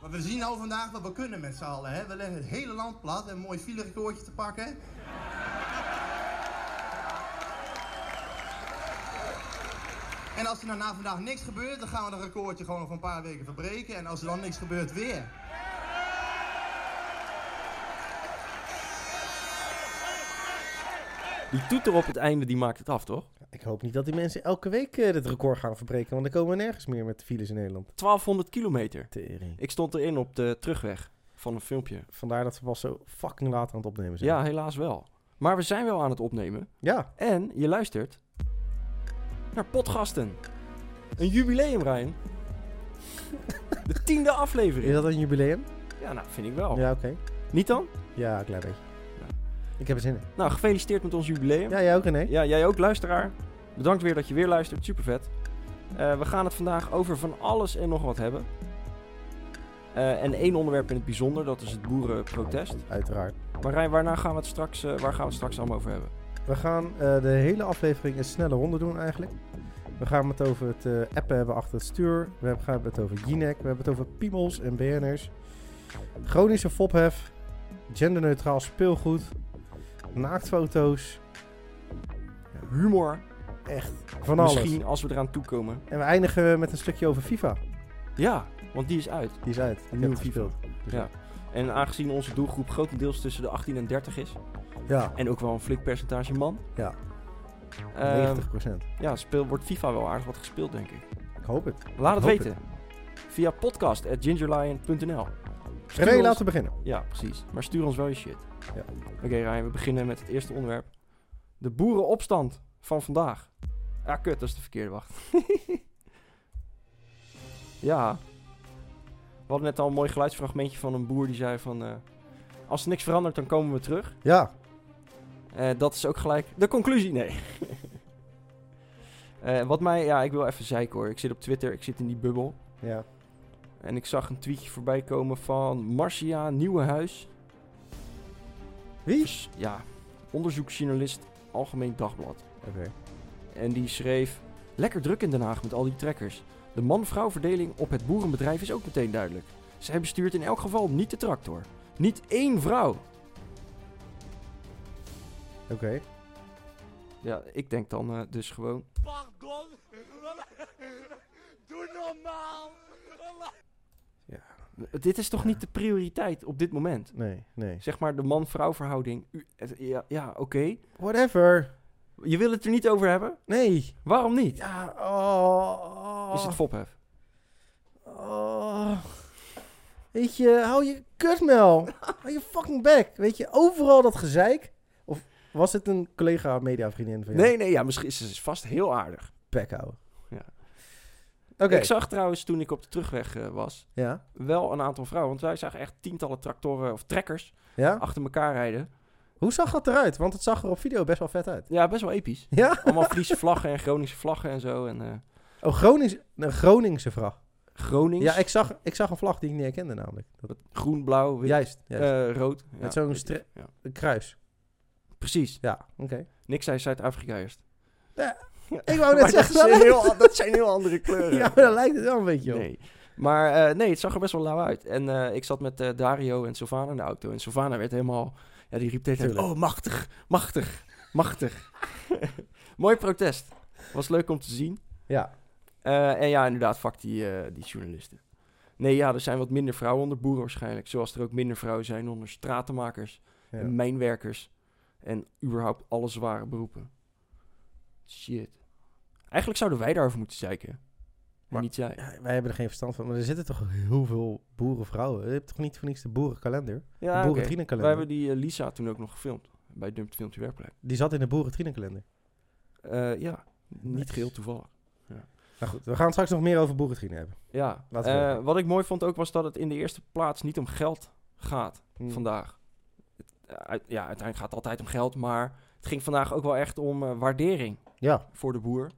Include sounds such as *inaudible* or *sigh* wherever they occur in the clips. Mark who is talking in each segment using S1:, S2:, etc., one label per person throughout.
S1: Maar we zien al vandaag wat we kunnen met z'n allen. Hè? We leggen het hele land plat en een mooi filerekoordje te pakken. En als er nou na vandaag niks gebeurt, dan gaan we dat recordje gewoon nog een paar weken verbreken. En als er dan niks gebeurt, weer.
S2: Die toeter op het einde, die maakt het af, toch?
S3: Ik hoop niet dat die mensen elke week eh, dit record gaan verbreken, want dan komen we nergens meer met de files in Nederland.
S2: 1200 kilometer.
S3: Tering.
S2: Ik stond erin op de terugweg van een filmpje.
S3: Vandaar dat we pas zo fucking laat aan het opnemen zijn.
S2: Ja, helaas wel. Maar we zijn wel aan het opnemen.
S3: Ja,
S2: En je luistert naar Podgasten. Een jubileum, Ryan. De tiende
S3: is
S2: aflevering.
S3: dat een jubileum?
S2: Ja, nou, vind ik wel.
S3: Ja, oké.
S2: Niet dan?
S3: Ja, een klein beetje.
S2: Ja.
S3: Ik heb er zin in.
S2: Nou, gefeliciteerd met ons jubileum.
S3: Ja, jij ook René?
S2: Ja, jij ook, luisteraar. Bedankt weer dat je weer luistert. Super vet. we gaan het vandaag over van alles en nog wat hebben. Eh, en één onderwerp in het bijzonder, dat is het boerenprotest.
S3: Uiteraard.
S2: Maar Rijn, waarna gaan we het straks, eh, waar gaan we het straks allemaal over hebben?
S3: We gaan eh, de hele aflevering een snelle ronde doen eigenlijk. We gaan het over het eh, appen hebben achter het stuur. We hebben- gaan het over Jinek. We hebben het over piemels en BN'ers. Chronische fophef. Genderneutraal speelgoed. Naaktfoto's.
S2: Humor,
S3: Van alles.
S2: misschien als we eraan toekomen.
S3: En we eindigen met een stukje over FIFA.
S2: Ja, want die is uit.
S3: Die is uit. Ik heb
S2: Nieuwe
S3: het
S2: FIFA.
S3: gespeeld.
S2: Ja. En aangezien onze doelgroep grotendeels tussen de 18 en 30 is,
S3: Ja,
S2: en ook wel een flink percentage man,
S3: ja. Ehm,
S2: eh,
S3: 90%.
S2: ja, speel, wordt FIFA wel aardig wat gespeeld, denk ik.
S3: Ik hoop het.
S2: Laat het
S3: Hoop
S2: weten. Via podcast.gingerlion.nl Stuur
S3: René,
S2: ons-
S3: laten we beginnen.
S2: Ja, precies. Maar stuur ons wel je shit.
S3: Ja.
S2: Oké, Ryan, we beginnen met het eerste onderwerp. De boerenopstand van vandaag. Ja, kut, dat is de verkeerde wacht. *laughs* ja. We hadden net al een mooi geluidsfragmentje van een boer die zei van... eh, als er niks verandert, dan komen we terug.
S3: Ja,
S2: Eh, dat is ook gelijk de conclusie, nee. *laughs* Eh, wat mij... Ja, ik wil even zeiken hoor. Ik zit op Twitter, ik zit in die bubbel.
S3: ja.
S2: En ik zag een tweetje voorbij komen van Marcia Nieuwenhuis.
S3: Wie?
S2: Dus, ja, onderzoeksjournalist Algemeen Dagblad.
S3: Oké.
S2: En die schreef... Lekker druk in Den Haag met al die trekkers. De man-vrouw verdeling op het boerenbedrijf is ook meteen duidelijk. Zij bestuurt in elk geval niet de tractor. Niet één vrouw.
S3: Oké.
S2: Ja, ik denk dan eh, dus gewoon...
S4: Pardon. Doe normaal.
S2: Dit is toch niet de prioriteit op dit moment?
S3: Nee, nee.
S2: Zeg maar de man-vrouw verhouding. U- het- Ja, ja oké.
S3: Whatever.
S2: Je wil het er niet over hebben?
S3: Nee.
S2: Waarom niet?
S3: Ja, oh.
S2: Is het fophef?
S3: Oh. Weet je, hou je *laughs* kutmel. hou je fucking back. Weet je, overal dat gezeik. Of was het een collega mediavriendin van jou?
S2: Nee, nee, ja, misschien is ze vast heel aardig.
S3: Bek houden.
S2: Ja.
S3: Oké.
S2: Ik zag trouwens toen ik op de terugweg eh, was,
S3: Ja.
S2: wel een aantal vrouwen. Want wij zagen echt tientallen tractoren of trekkers
S3: Ja?
S2: achter elkaar rijden.
S3: Hoe zag dat eruit? Want het zag er op video best wel vet uit.
S2: Ja, best wel episch.
S3: Ja? *laughs*
S2: Allemaal Friese vlaggen en Groningse vlaggen en zo. En eh
S3: Oh, Gronings, een Groningse vlag.
S2: Gronings,
S3: Ja, ik zag, ik zag een vlag die ik niet herkende namelijk. Dat,
S2: groen, blauw, wit,
S3: juist, juist.
S2: eh, rood. Ja,
S3: Met zo'n
S2: weet
S3: stre-
S2: ik. Ja.
S3: een kruis.
S2: Precies.
S3: Ja, oké.
S2: Niks zei Zuid-Afrika eerst.
S3: *laughs* Ik wou net
S2: Maar
S3: zeggen,
S2: dat,
S3: Oh, dat
S2: zijn
S3: lijkt-
S2: heel, dat zijn heel
S3: *laughs*
S2: andere kleuren.
S3: ja, maar dat lijkt het wel een beetje op.
S2: Nee. Maar eh, nee, het zag er best wel lauw uit. En eh, ik zat met eh, Dario en Sylvana in de auto. En Sylvana werd helemaal... Ja, die riep tegen
S3: Tuurlijk.
S2: Oh, machtig, machtig, machtig. *laughs* Mooi protest. Was leuk om te zien.
S3: Ja,
S2: Eh, en ja, inderdaad, fuck die, eh, die journalisten. Nee, ja, er zijn wat minder vrouwen onder boeren waarschijnlijk. Zoals er ook minder vrouwen zijn onder stratenmakers
S3: ja.
S2: en mijnwerkers. En überhaupt alle zware beroepen. Shit. Eigenlijk zouden wij daarover moeten zeiken. En
S3: Maar-
S2: niet jij.
S3: Ja, wij hebben er geen verstand van, maar er zitten toch heel veel boerenvrouwen. Je hebt toch niet voor niks de boerenkalender?
S2: Ja,
S3: de
S2: oké. Wij
S3: boerentrienenkalender.
S2: hebben die eh, Lisa toen ook nog gefilmd. Bij Dumpt Filmpje Werkplek.
S3: Die zat in de boerentrienenkalender.
S2: Eh, ja, niet
S3: Nice.
S2: geheel toevallig.
S3: Nou goed, we gaan straks nog meer over boerentrienen hebben.
S2: Ja,
S3: Laten we
S2: eh,
S3: hopen.
S2: wat ik mooi vond ook was dat het in de eerste plaats niet om geld gaat
S3: Hmm.
S2: vandaag. Het, eh, uit- ja, uiteindelijk gaat het altijd om geld, maar het ging vandaag ook wel echt om eh, waardering
S3: Ja,
S2: voor de boer.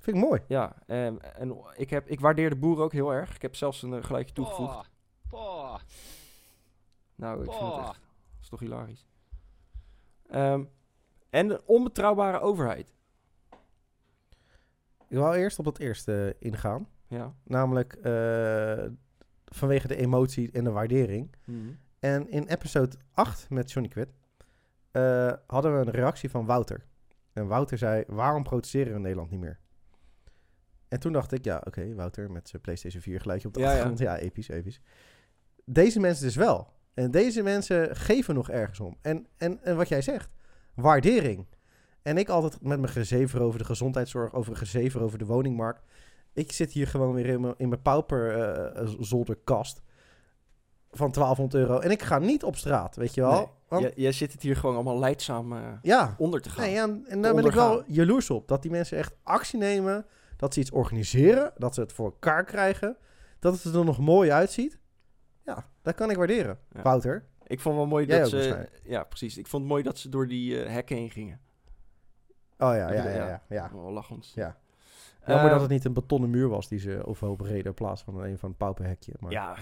S3: vind ik mooi.
S2: Ja, ehm, en ik, heb, ik waardeer de boer ook heel erg. Ik heb zelfs een eh, geluidje
S3: Oh.
S2: toegevoegd.
S4: Poh. Poh.
S2: Nou, ik
S3: Oh.
S2: vind het
S4: Boah.
S2: echt... Dat is toch hilarisch. Ehm, en de onbetrouwbare overheid.
S3: Ik wou eerst op dat eerste ingaan.
S2: Ja,
S3: Namelijk eh, vanwege de emotie en de waardering.
S2: Hmm.
S3: En in episode 8 met Johnny Quid eh, hadden we een reactie van Wouter. En Wouter zei, waarom protesteren we in Nederland niet meer? En toen dacht ik, ja, oké, Wouter met zijn PlayStation 4 geluidje op de
S2: Ja, ja.
S3: achtergrond. Ja. episch, episch. Deze mensen dus wel. En deze mensen geven nog ergens om. En, en, en wat jij zegt, waardering. En ik altijd met mijn gezever over de gezondheidszorg, over gezever over de woningmarkt. Ik zit hier gewoon weer in mijn, in mijn pauper eh, eh, zolderkast van 1200 euro. En ik ga niet op straat, weet je wel.
S2: Nee,
S3: Want-
S2: jij, jij zit het hier gewoon allemaal leidzaam eh,
S3: ja.
S2: onder te gaan.
S3: Nee, ja, en- en daar ben ik wel
S2: ondergaan.
S3: jaloers op. Dat die mensen echt actie nemen. Dat ze iets organiseren. Dat ze het voor elkaar krijgen. Dat het er nog mooi uitziet. Ja, dat kan ik waarderen.
S2: Ja.
S3: Wouter.
S2: Ik vond wel mooi
S3: Jij
S2: dat
S3: ook
S2: ze...
S3: waarschijnlijk.
S2: Ja, precies. Ik vond het mooi dat ze door die eh, hekken heen gingen.
S3: Oh ja, ja, ja.
S2: bedoel,
S3: ja,
S2: ja.
S3: ja, ja.
S2: Oh, lachend.
S3: Ja. Jammer
S2: Eh,
S3: dat het niet een betonnen muur was die ze overhoop reden in plaats van een van een pauperhekje. Maar
S2: Ja.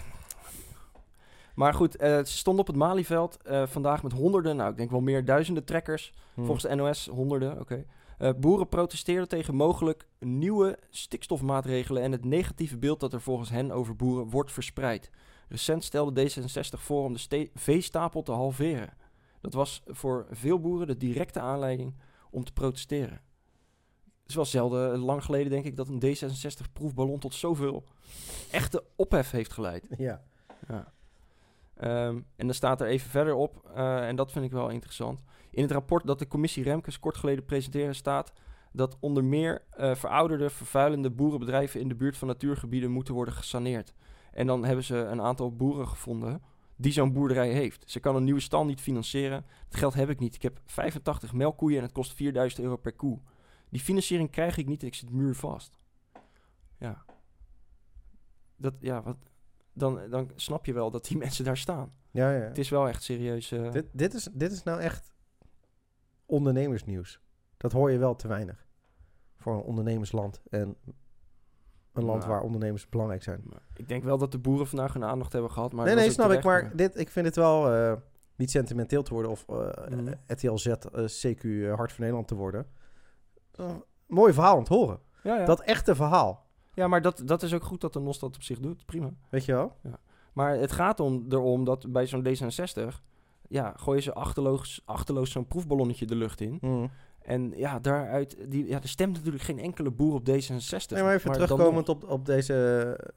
S2: Maar goed, eh, ze stonden op het Malieveld eh, vandaag met honderden, nou ik denk wel meer duizenden trekkers.
S3: Hmm.
S2: Volgens de NOS honderden, oké. Eh, boeren protesteerden tegen mogelijk nieuwe stikstofmaatregelen en het negatieve beeld dat er volgens hen over boeren wordt verspreid. Recent stelde D66 voor om de ste- veestapel te halveren. Dat was voor veel boeren de directe aanleiding om te protesteren. Het is wel zelden, eh, lang geleden denk ik, dat een D66-proefballon tot zoveel echte ophef heeft geleid.
S3: ja.
S2: Ja. Ehm, en dan staat er even verder op, eh, en dat vind ik wel interessant. In het rapport dat de commissie Remkes kort geleden presenteerde staat dat onder meer eh, verouderde, vervuilende boerenbedrijven in de buurt van natuurgebieden moeten worden gesaneerd. En dan hebben ze een aantal boeren gevonden die zo'n boerderij heeft. Ze kan een nieuwe stal niet financieren. Het geld heb ik niet. Ik heb 85 melkkoeien en het kost 4000 euro per koe. Die financiering krijg ik niet. Ik zit muurvast. Ja. Dat, ja, wat, dan, dan snap je wel dat die *laughs* mensen daar staan.
S3: ja, ja.
S2: Het is wel echt serieus. eh,
S3: Dit, dit, is, dit is nou echt ondernemersnieuws. Dat hoor je wel te weinig. Voor een ondernemersland en een land
S2: Ja.
S3: waar ondernemers belangrijk zijn.
S2: Nou. maar ik denk wel dat de boeren vandaag hun aandacht hebben gehad. Maar
S3: nee,
S2: was
S3: nee,
S2: ook
S3: snap ik.
S2: terecht,
S3: Maar dit, ik vind het wel eh, niet sentimenteel te worden of eh
S2: Mhm.
S3: RTLZ, eh, CQ, eh, Hart van Nederland te worden. Eh, mooi verhaal om te horen.
S2: Ja, ja.
S3: Dat echte verhaal.
S2: ja maar dat, dat is ook goed dat de NOS dat op zich doet. Prima.
S3: Weet je wel?
S2: Maar het gaat om, erom dat bij zo'n D66... Ja, gooien ze achterloos, achterloos zo'n proefballonnetje de lucht in.
S3: Hmm.
S2: En ja, daaruit... Die, ja, er stemt natuurlijk geen enkele boer op D66.
S3: Nee, maar
S2: dan
S3: even terugkomend op, op deze eh,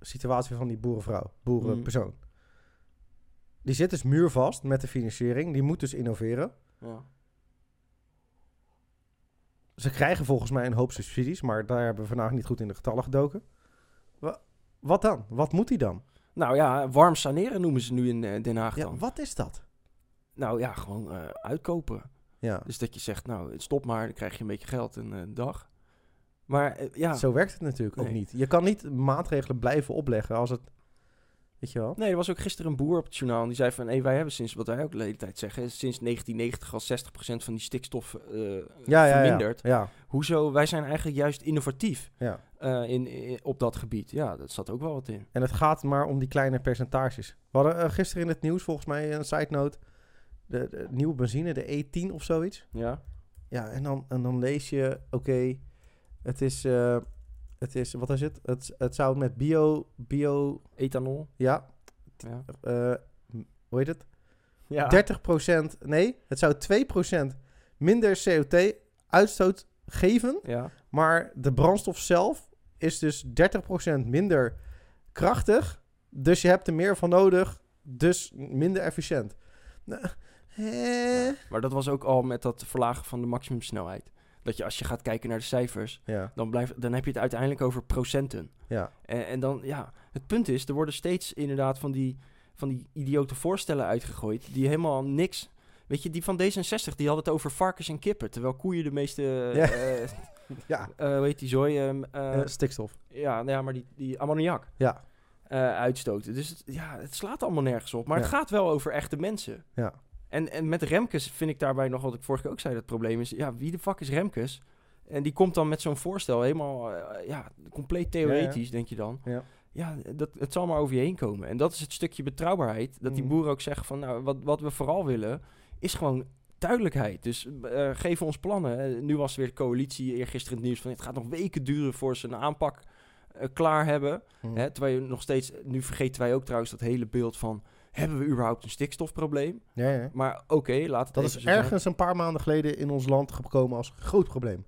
S3: situatie van die boerenvrouw, boerenpersoon.
S2: Hmm.
S3: Die zit dus muurvast met de financiering. Die moet dus innoveren.
S2: nog. Ja.
S3: Ze krijgen volgens mij een hoop subsidies, maar daar hebben we vandaag niet goed in de getallen gedoken. Wa- Wat dan? Wat moet hij dan?
S2: Nou ja, warm saneren noemen ze nu in eh, Den Haag
S3: Ja,
S2: dan.
S3: wat is dat?
S2: Nou ja, gewoon eh, uitkopen.
S3: Ja,
S2: Dus dat je zegt, nou, stop maar, dan krijg je een beetje geld en eh, een dag. Maar eh, ja,
S3: zo werkt het natuurlijk ook
S2: Nee.
S3: niet. Je kan niet maatregelen blijven opleggen als het... Weet je wel?
S2: nee, er was ook gisteren een boer op het journaal en die zei van, hé, wij hebben sinds, wat wij ook de hele tijd zeggen, is sinds 1990 al 60% van die stikstof eh,
S3: Ja, ja, ja.
S2: verminderd.
S3: ja,
S2: Hoezo? Wij zijn eigenlijk juist innovatief
S3: ja.
S2: eh, in, in- op dat gebied. Ja, dat zat ook wel wat in.
S3: En het gaat maar om die kleine percentages. We hadden eh, gisteren in het nieuws volgens mij een side note. De, de nieuwe benzine, de E10 of zoiets.
S2: Ja,
S3: Ja, en dan, en dan lees je, oké, het is... eh, het is, wat is het? Het, het zou met bio, bio,
S2: ethanol.
S3: ja,
S2: Ja.
S3: eh, m- hoe heet het?
S2: ja.
S3: 30%, nee, het zou 2% minder CO2-uitstoot geven.
S2: Ja,
S3: Maar de brandstof zelf is dus 30% minder krachtig. Dus je hebt er meer van nodig. Dus minder efficiënt. Nou, hè?
S2: maar dat was ook al met dat verlagen van de maximumsnelheid. Dat je als je gaat kijken naar de cijfers,
S3: Ja,
S2: dan, blijft, dan heb je het uiteindelijk over procenten.
S3: ja.
S2: En, en dan, ja, het punt is, er worden steeds inderdaad van die, van die idiote voorstellen uitgegooid, die helemaal niks... Weet je, die van D66, die had het over varkens en kippen, terwijl koeien de meeste,
S3: Ja.
S2: eh, eh,
S3: ja.
S2: hoe heet die zooi, ehm, eh,
S3: Eh, stikstof.
S2: ja, nou ja, maar die, die ammoniak
S3: Ja.
S2: eh, uitstoten. Dus het, ja, het slaat allemaal nergens op, maar het
S3: Ja.
S2: gaat wel over echte mensen.
S3: Ja.
S2: En, en met Remkes vind ik daarbij nog, wat ik vorige keer ook zei, dat het probleem is, ja, wie de fuck is Remkes? En die komt dan met zo'n voorstel, helemaal, eh, ja, compleet theoretisch, denk je dan.
S3: Ja.
S2: Ja, dat, het zal maar over je heen komen. En dat is het stukje betrouwbaarheid, dat die
S3: Mhm.
S2: boeren ook zeggen van, nou, wat, wat we vooral willen, is gewoon duidelijkheid. Dus eh geef ons plannen. Eh, nu was er weer de coalitie, eergisteren het nieuws van, het gaat nog weken duren voor ze een aanpak eh, klaar hebben.
S3: Hm.
S2: Hè, terwijl je nog steeds, nu vergeten wij ook trouwens dat hele beeld van, hebben we überhaupt een stikstofprobleem?
S3: Ja, ja.
S2: Maar oké, laat het even
S3: Dat is
S2: zo zijn.
S3: ergens een paar maanden geleden in ons land gekomen als groot probleem.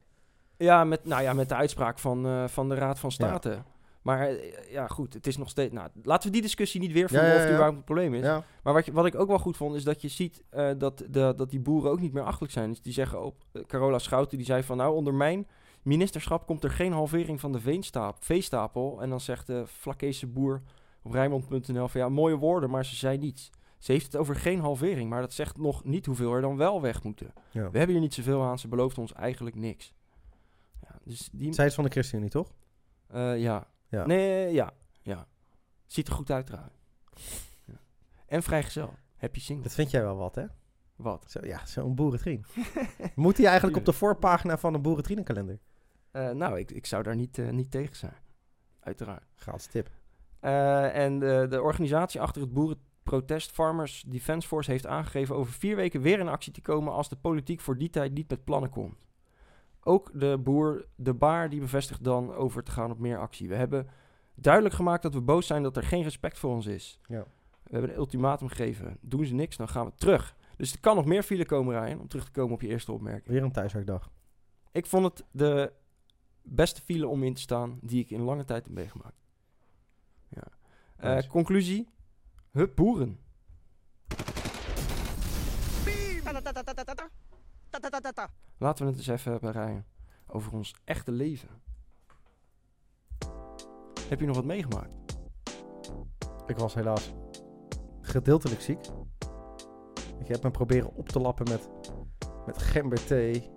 S2: Ja, met, nou ja, met de uitspraak van, eh, van de Raad van State. Maar eh, ja, goed, het is nog steeds... Nou, laten we die discussie niet weer voeren
S3: ja,
S2: of het
S3: ja.
S2: überhaupt een probleem is.
S3: Ja,
S2: Maar wat, je- wat ik ook wel goed vond, is dat je ziet eh, dat, de, dat die boeren ook niet meer achterlijk zijn. Dus die zeggen ook, eh, Carola Schouten, die zei van... Nou, onder mijn ministerschap komt er geen halvering van de veenstaap, veestapel. En dan zegt de Vlakkese boer op Rijnmond.nl van... Ja, mooie woorden, maar ze zei niets. Ze heeft het over geen halvering, maar dat zegt nog niet hoeveel er dan wel weg moeten.
S3: ja.
S2: We hebben hier niet zoveel aan, ze belooft ons eigenlijk niks. Ja, dus die...
S3: Zij is van de ChristenUnie, toch?
S2: eh, ja.
S3: Ja.
S2: Nee, ja. Ja. Ziet er goed uit trouwens. Ja. En vrijgezel. Happy single.
S3: Dat vind jij wel wat, hè?
S2: Wat?
S3: Zo, ja, zo'n
S2: *laughs*
S3: boerentrien. Moet hij eigenlijk op de voorpagina van een boerentrienenkalender?
S2: Eh, nou, ik, ik zou daar niet, eh, niet tegen zijn. Uiteraard.
S3: Gratis tip.
S2: Eh, en de, de organisatie achter het boerenprotest Farmers Defence Force heeft aangegeven over vier weken weer in actie te komen als de politiek voor die tijd niet met plannen komt. Ook de boer De Baar die bevestigt dan over te gaan op meer actie. We hebben duidelijk gemaakt dat we boos zijn dat er geen respect voor ons is.
S3: Ja.
S2: We hebben een ultimatum gegeven. Doen ze niks, dan gaan we terug. Dus er kan nog meer file komen, Ryan, om terug te komen op je eerste opmerking.
S3: Weer een thuiswerkdag.
S2: Ik vond het de beste file om in te staan die ik in lange tijd heb meegemaakt. Ja. Eh,
S3: Nice.
S2: Conclusie. Hup, boeren. Laten we het eens even hebben, Ryan, over ons echte leven. Heb je nog wat meegemaakt?
S3: Ik was helaas gedeeltelijk ziek. Ik heb me proberen op te lappen met, met gemberthee.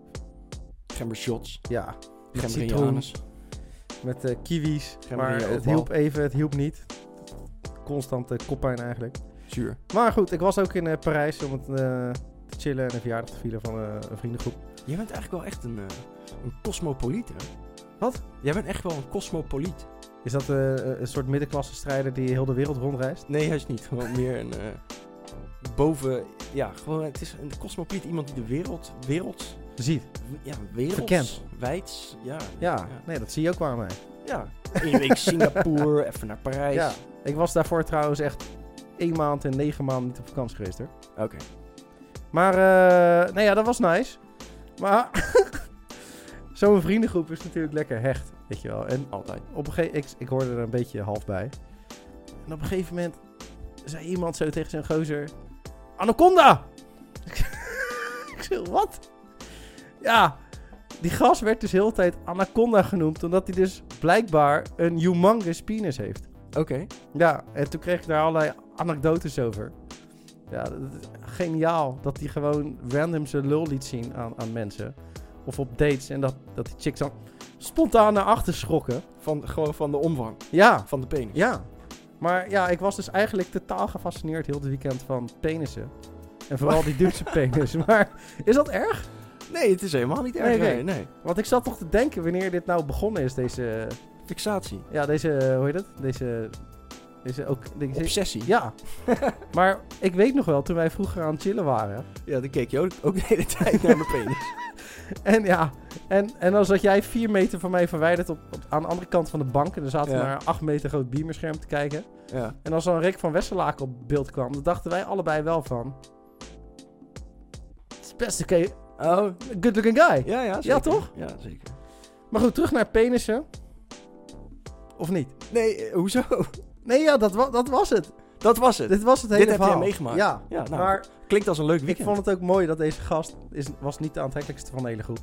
S2: Gember shots,
S3: Ja, met citroen,
S2: gemberianus.
S3: met eh, kiwis. Maar
S2: hier ook
S3: het
S2: wel.
S3: hielp even, het hielp niet. Constante koppijn eigenlijk.
S2: Zuur.
S3: Maar goed, ik was ook in eh, Parijs om het, eh, te chillen en een verjaardag te vieren van eh, een vriendengroep.
S2: Jij bent eigenlijk wel echt een, eh, een cosmopoliet, hè?
S3: Wat?
S2: Jij bent echt wel een cosmopoliet.
S3: Is dat eh, een soort middenklasse strijder die heel de wereld rondreist?
S2: Nee, juist niet. Gewoon meer een eh, boven... Ja, gewoon, het is een cosmopoliet. Iemand die de wereld... Wereld...
S3: Ziet.
S2: Ja, wereld...
S3: Verkent.
S2: Wijds. Ja.
S3: Ja,
S2: Ja.
S3: nee, dat zie je ook wel aan mij.
S2: Ja. Eén week Singapore, even naar Parijs.
S3: Ja, ik was daarvoor trouwens echt één maand en negen maanden niet op vakantie geweest hoor.
S2: Oké.
S3: Maar, eh nou ja, dat was nice. Maar *laughs* zo'n vriendengroep is natuurlijk lekker hecht, weet je wel. En
S2: Altijd.
S3: op een gegeven ik, ik hoorde er een beetje half bij. En op een gegeven moment zei iemand zo tegen zijn gozer... Anaconda! *laughs* ik zei, wat? Ja, die gast werd dus heel de tijd Anaconda genoemd... omdat hij dus blijkbaar een humongous penis heeft.
S2: Oké.
S3: Ja, en toen kreeg ik daar allerlei anekdotes over. Ja, dat- dat- geniaal dat hij gewoon random zijn lul liet zien aan, aan mensen. Of op dates en dat, dat die chicks dan spontaan naar achter schrokken.
S2: Van, gewoon van de omvang.
S3: Ja,
S2: Van de penis.
S3: ja. Maar ja, ik was dus eigenlijk totaal gefascineerd heel het weekend van penissen. En vooral die Duitse penis. Maar is dat erg?
S2: Nee, het is helemaal niet erg.
S3: Nee,
S2: Nee,
S3: oké.
S2: nee.
S3: Want ik zat toch te denken wanneer dit nou begonnen is, deze...
S2: Fixatie.
S3: Ja, deze... Hoe heet het? Deze... Deze ook... Deze,
S2: Obsessie.
S3: Ja. *laughs* maar ik weet nog wel, toen wij vroeger aan het chillen waren.
S2: Ja, dan keek je ook, ook de hele tijd naar mijn
S3: *laughs*
S2: penis.
S3: En ja, en, en dan zat jij vier meter van mij verwijderd op, op- aan de andere kant van de bank. En dan zaten we
S2: Ja.
S3: naar een acht meter groot beamerscherm te kijken.
S2: Ja.
S3: En als dan Rick van Westerlaken op beeld kwam, dan dachten wij allebei wel van... Het is best oké,
S2: Oh.
S3: good looking guy.
S2: Ja, ja, zeker.
S3: toch?
S2: Ja, zeker.
S3: Maar goed, terug naar penissen. Of niet?
S2: Nee, eh, hoezo?
S3: Nee, ja, dat, wa- dat was het.
S2: Dat was het.
S3: *laughs* Dit was het
S2: Dit
S3: hele
S2: heb jij
S3: verhaal.
S2: meegemaakt.
S3: Ja,
S2: Ja, nou,
S3: maar
S2: Klinkt als een leuk weekend.
S3: Ik vond het ook mooi dat deze gast is, was niet de aantrekkelijkste van de hele groep.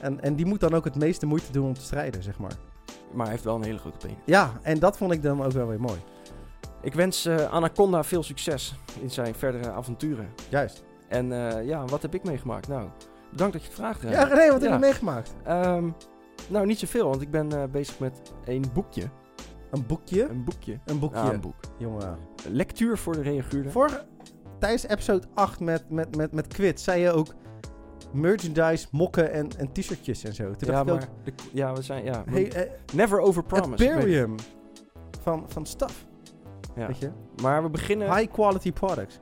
S3: En, en die moet dan ook het meeste moeite doen om te strijden, zeg maar.
S2: Maar hij heeft wel een hele grote penis.
S3: Ja, en dat vond ik dan ook wel weer mooi.
S2: Ik wens eh, Anaconda veel succes in zijn verdere avonturen.
S3: Juist.
S2: En eh, ja, wat heb ik meegemaakt? Nou, bedankt dat je het vraagt.
S3: Ja,
S2: Rijn.
S3: nee, wat heb
S2: Ja.
S3: je meegemaakt?
S2: Ehm, nou, niet zoveel, want ik ben eh, bezig met een boekje.
S3: Een boekje.
S2: Een boekje.
S3: Een boekje.
S2: Ja, een boek.
S3: Jongen.
S2: Lectuur voor de reaguurder.
S3: Vorige, tijdens episode 8 met, met, met, met Quid zei je ook merchandise, mokken en, en t-shirtjes en zo. Toen
S2: ja,
S3: dacht ik
S2: maar de, ja, we zijn... Ja,
S3: ook, hey, eh,
S2: never over promise.
S3: Atbarium van, van stuff.
S2: Ja.
S3: Weet je?
S2: Maar we beginnen...
S3: High quality
S2: *laughs*
S3: products.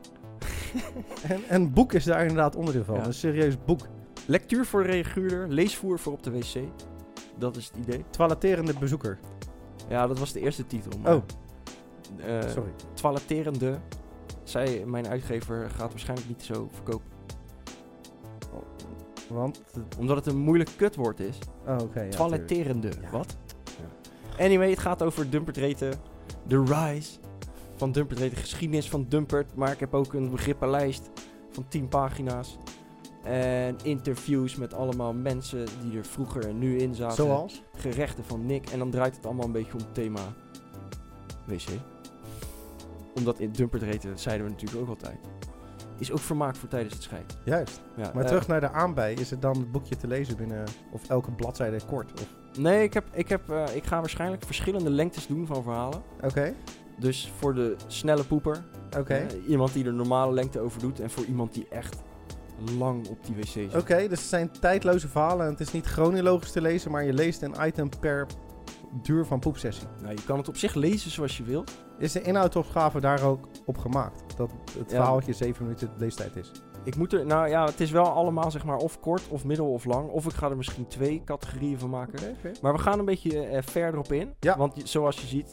S3: en, en boek is daar inderdaad onderdeel van.
S2: Ja.
S3: Een serieus boek.
S2: Lectuur voor de reaguurder. Leesvoer voor op de wc. Dat is het idee.
S3: Toileterende bezoeker.
S2: Ja, dat was de eerste titel. maar,
S3: Oh.
S2: eh,
S3: Sorry.
S2: toiletterende. Zij, mijn uitgever, gaat waarschijnlijk niet zo verkopen.
S3: Want...
S2: Omdat het een moeilijk kutwoord is.
S3: Oh, oké. ja, tuurlijk.
S2: Toiletterende.
S3: Ja.
S2: Wat? Anyway, het gaat over Dumpertreten. The rise van Dumpertreten. Geschiedenis van Dumpert. Maar ik heb ook een begrippenlijst van 10 pagina's. En interviews met allemaal mensen die er vroeger en nu in zaten.
S3: Zoals?
S2: Gerechten van Nick. En dan draait het allemaal een beetje om het thema wc. Omdat in Dumpertreten, dat zeiden we natuurlijk ook altijd. Is ook vermaak voor tijdens het scheiden.
S3: Juist.
S2: Ja,
S3: Maar
S2: eh,
S3: terug naar de aanbij. Is het dan het boekje te lezen binnen... Of elke bladzijde kort? Of...
S2: Nee, ik, heb, ik, heb, eh, ik ga waarschijnlijk verschillende lengtes doen van verhalen.
S3: Oké.
S2: Dus voor de snelle poeper.
S3: Oké.
S2: eh, iemand die er normale lengte over doet. En voor iemand die echt lang op die wc zit.
S3: Oké, dus het zijn tijdloze verhalen en het is niet chronologisch te lezen, maar je leest een item per duur van poepsessie.
S2: Nou, je kan het op zich lezen zoals je wilt.
S3: Is de inhoudsopgave daar ook op gemaakt? Dat het
S2: Ja.
S3: verhaaltje 7 minuten leestijd is.
S2: Ik moet er, nou ja, het is wel allemaal zeg maar of kort of middel of lang. Of ik ga er misschien twee categorieën van maken. Maar we gaan een beetje eh, verder op in.
S3: Ja.
S2: Want je- zoals je ziet,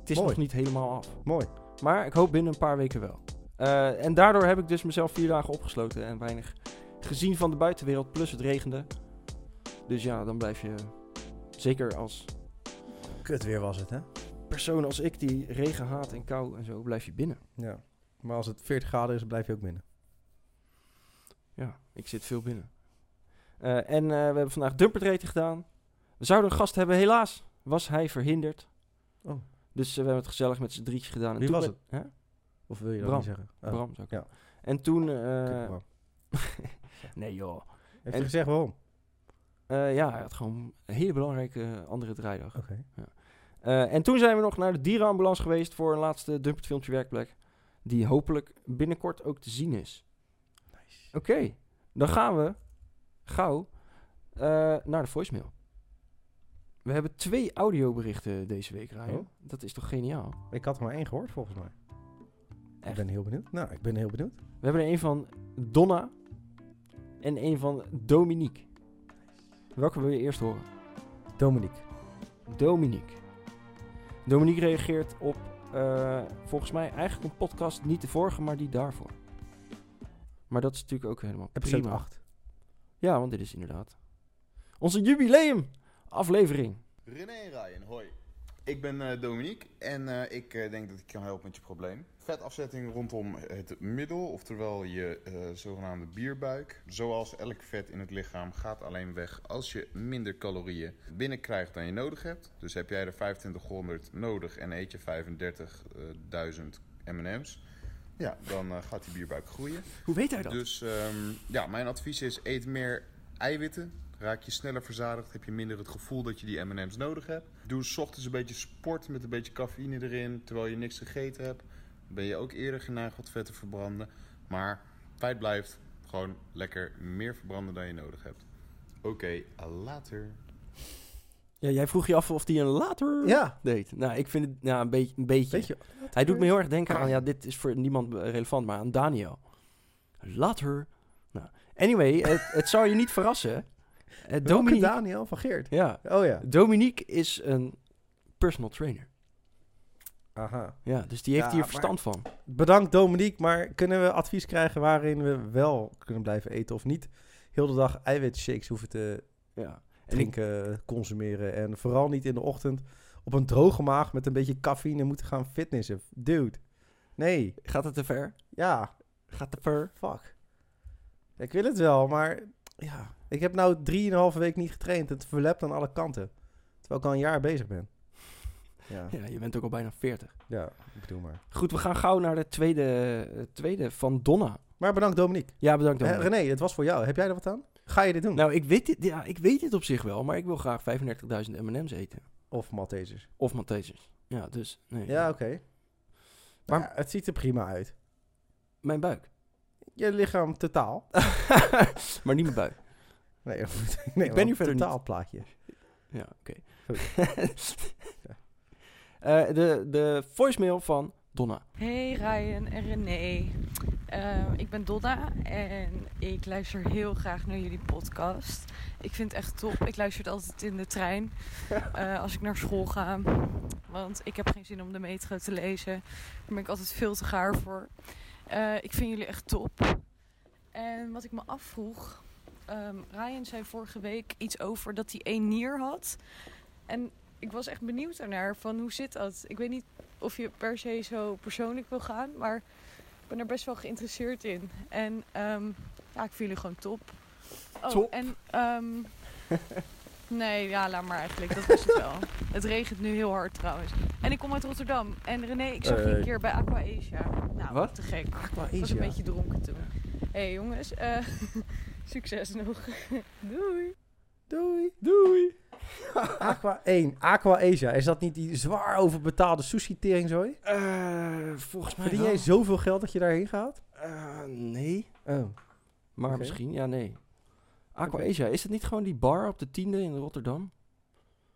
S2: het is
S3: Mooi.
S2: nog niet helemaal af.
S3: Mooi.
S2: Maar ik hoop binnen een paar weken wel. Eh, en daardoor heb ik dus mezelf vier dagen opgesloten en weinig gezien van de buitenwereld. Plus het regende. Dus ja, dan blijf je zeker als
S3: Kut weer was het, hè?
S2: persoon als ik die regen haat en kou en zo, blijf je binnen.
S3: Ja. Maar als het 40 graden is, blijf je ook binnen.
S2: Ja, ik zit veel binnen. Eh, en eh, we hebben vandaag dumpertreten gedaan. We zouden een gast hebben, helaas was hij verhinderd.
S3: Oh.
S2: Dus eh, we hebben het gezellig met z'n drietjes gedaan. En
S3: Wie
S2: toen
S3: was
S2: ben- Hè?
S3: Of wil je
S2: Bram.
S3: zeggen? Oh,
S2: Bram zou ik
S3: ja.
S2: En toen...
S3: kut,
S2: eh,
S3: Bram.
S2: nee joh.
S3: Heeft
S2: en-
S3: je gezegd waarom?
S2: Eh, ja, hij had gewoon een hele belangrijke andere draaidag.
S3: Oké.
S2: Eh, en toen zijn we nog naar de dierenambulance geweest voor een laatste Dumpert filmpje werkplek. Die hopelijk binnenkort ook te zien is. Oké, dan gaan we gauw eh, naar de voicemail. We hebben twee audioberichten deze week, Ryan.
S3: Oh.
S2: Dat is toch geniaal?
S3: Ik had er maar één gehoord, volgens mij. Ik
S2: Echt?
S3: ben heel benieuwd. Nou, ik ben heel benieuwd.
S2: We hebben er een van Donna en een van Dominique. Welke wil je eerst horen?
S3: Dominique.
S2: Dominique. Dominique reageert op, eh, volgens mij eigenlijk een podcast, niet de vorige, maar die daarvoor. Maar dat is natuurlijk ook helemaal
S3: Episode
S2: prima.
S3: 8.
S2: Ja, want dit is inderdaad onze jubileum aflevering.
S5: René en Ryan, hoi. Ik ben eh, Dominique en eh, ik eh, denk dat ik kan helpen met je probleem. Vetafzetting rondom het middel, oftewel je eh, zogenaamde bierbuik. Zoals elk vet in het lichaam gaat alleen weg als je minder calorieën binnenkrijgt dan je nodig hebt. Dus heb jij er 2500 nodig en eet je 35.000 MM's, ja, dan eh, gaat die bierbuik groeien.
S2: Hoe weet hij dat?
S5: Dus ehm, ja, mijn advies is: eet meer eiwitten. Raak je sneller verzadigd, heb je minder het gevoel dat je die MM's nodig hebt. Doe 's ochtends een beetje sport met een beetje cafeïne erin, terwijl je niks gegeten hebt. Dan ben je ook eerder geneigd wat vet te verbranden. Maar feit blijft gewoon lekker meer verbranden dan je nodig hebt. Oké, later.
S2: Ja, jij vroeg je af of hij een later
S3: Ja.
S2: deed. Nou, ik vind het nou, een, beetje een beetje.
S3: Weet je, Ah.
S2: Hij doet me heel erg denken aan, ja, dit is voor niemand eh, relevant, maar aan Daniel. Later. Nou, anyway, het, het zou je niet verrassen. Eh,
S3: Dominique.
S2: Dominique.
S3: Daniel van Geert.
S2: Ja.
S3: Oh ja.
S2: Dominique is een personal trainer.
S3: Aha.
S2: Ja, dus die heeft
S3: Ja,
S2: hier
S3: maar-
S2: verstand van.
S3: Bedankt Dominique, maar kunnen we advies krijgen waarin we wel kunnen blijven eten of niet? Heel de dag eiwitshakes hoeven te
S2: Ja. En ik,
S3: drinken, consumeren en vooral niet in de ochtend op een droge maag met een beetje cafeïne moeten gaan fitnessen. Dude, nee,
S2: gaat het te ver?
S3: ja,
S2: Gaat te ver?
S3: fuck. Ik wil het wel, maar ja, ik heb nou drieënhalve week niet getraind. Het verlept aan alle kanten, terwijl ik al een jaar bezig
S2: *laughs*
S3: ben. Ja,
S2: Ja, je bent ook al bijna 40.
S3: ja, ik bedoel maar.
S2: Goed, we gaan gauw naar de tweede, eh, tweede van Donna.
S3: Maar bedankt Dominique.
S2: Ja, bedankt.
S3: Eh,
S2: Dominique.
S3: René, het was voor jou. Heb jij er wat aan? Ga je dit doen?
S2: Nou, ik weet, dit, ja, ik weet dit op zich wel, maar ik wil graag 35.000 M&M's eten.
S3: Of Maltesers?
S2: Of Maltesers. Ja, dus nee.
S3: Ja, oké. Maar
S2: Maar-
S3: het ziet er prima uit.
S2: Mijn buik. *laughs*
S3: Je lichaam totaal.
S2: maar niet mijn buik. *laughs*
S3: Nee, *laughs* ik
S2: ben hier verder niet.
S3: totaal plaatje.
S2: Ja, oké.
S3: Goed.
S2: Eh, de, de voicemail van Donna.
S6: Hey Ryan en René. Ehm, ik ben Donna en ik luister heel graag naar jullie podcast. Ik vind het echt top. Ik luister het altijd in de trein eh, als ik naar school ga. Want ik heb geen zin om de metro te lezen. Daar ben ik altijd veel te gaar voor. Eh, ik vind jullie echt top. En wat ik me afvroeg... ehm, Ryan zei vorige week iets over dat hij één nier had. En ik was echt benieuwd daarnaar van hoe zit dat? Ik weet niet of je per se zo persoonlijk wil gaan, maar ik ben er best wel geïnteresseerd in. En ehm, ja, ik vind jullie gewoon top. Oh,
S2: Top.
S6: En
S2: *laughs*
S6: ehm, nee, ja, laat maar eigenlijk. Dat was het wel. Het regent nu heel hard trouwens. En ik kom uit Rotterdam. En René, ik zag je
S3: Hey.
S6: een keer bij Aqua Asia. Nou,
S2: Eh, Wat?
S6: te gek.
S2: Aqua
S6: Ik was een
S2: Asia.
S6: beetje dronken toen. Hé hey, jongens, eh, *laughs* succes nog. *laughs* Doei.
S3: Doei.
S2: Doei.
S3: *laughs* Aqua 1. Aqua Asia. Is dat niet die zwaar overbetaalde sushi-tering zooi?
S2: Eh, volgens mij
S3: Verdien
S2: wel.
S3: jij zoveel geld dat je daarheen gaat?
S2: Eh, nee.
S3: Oh.
S2: Maar
S3: Oké.
S2: misschien, ja, nee. Aqua
S3: Oké.
S2: Asia, is het niet gewoon die bar op de tiende in Rotterdam?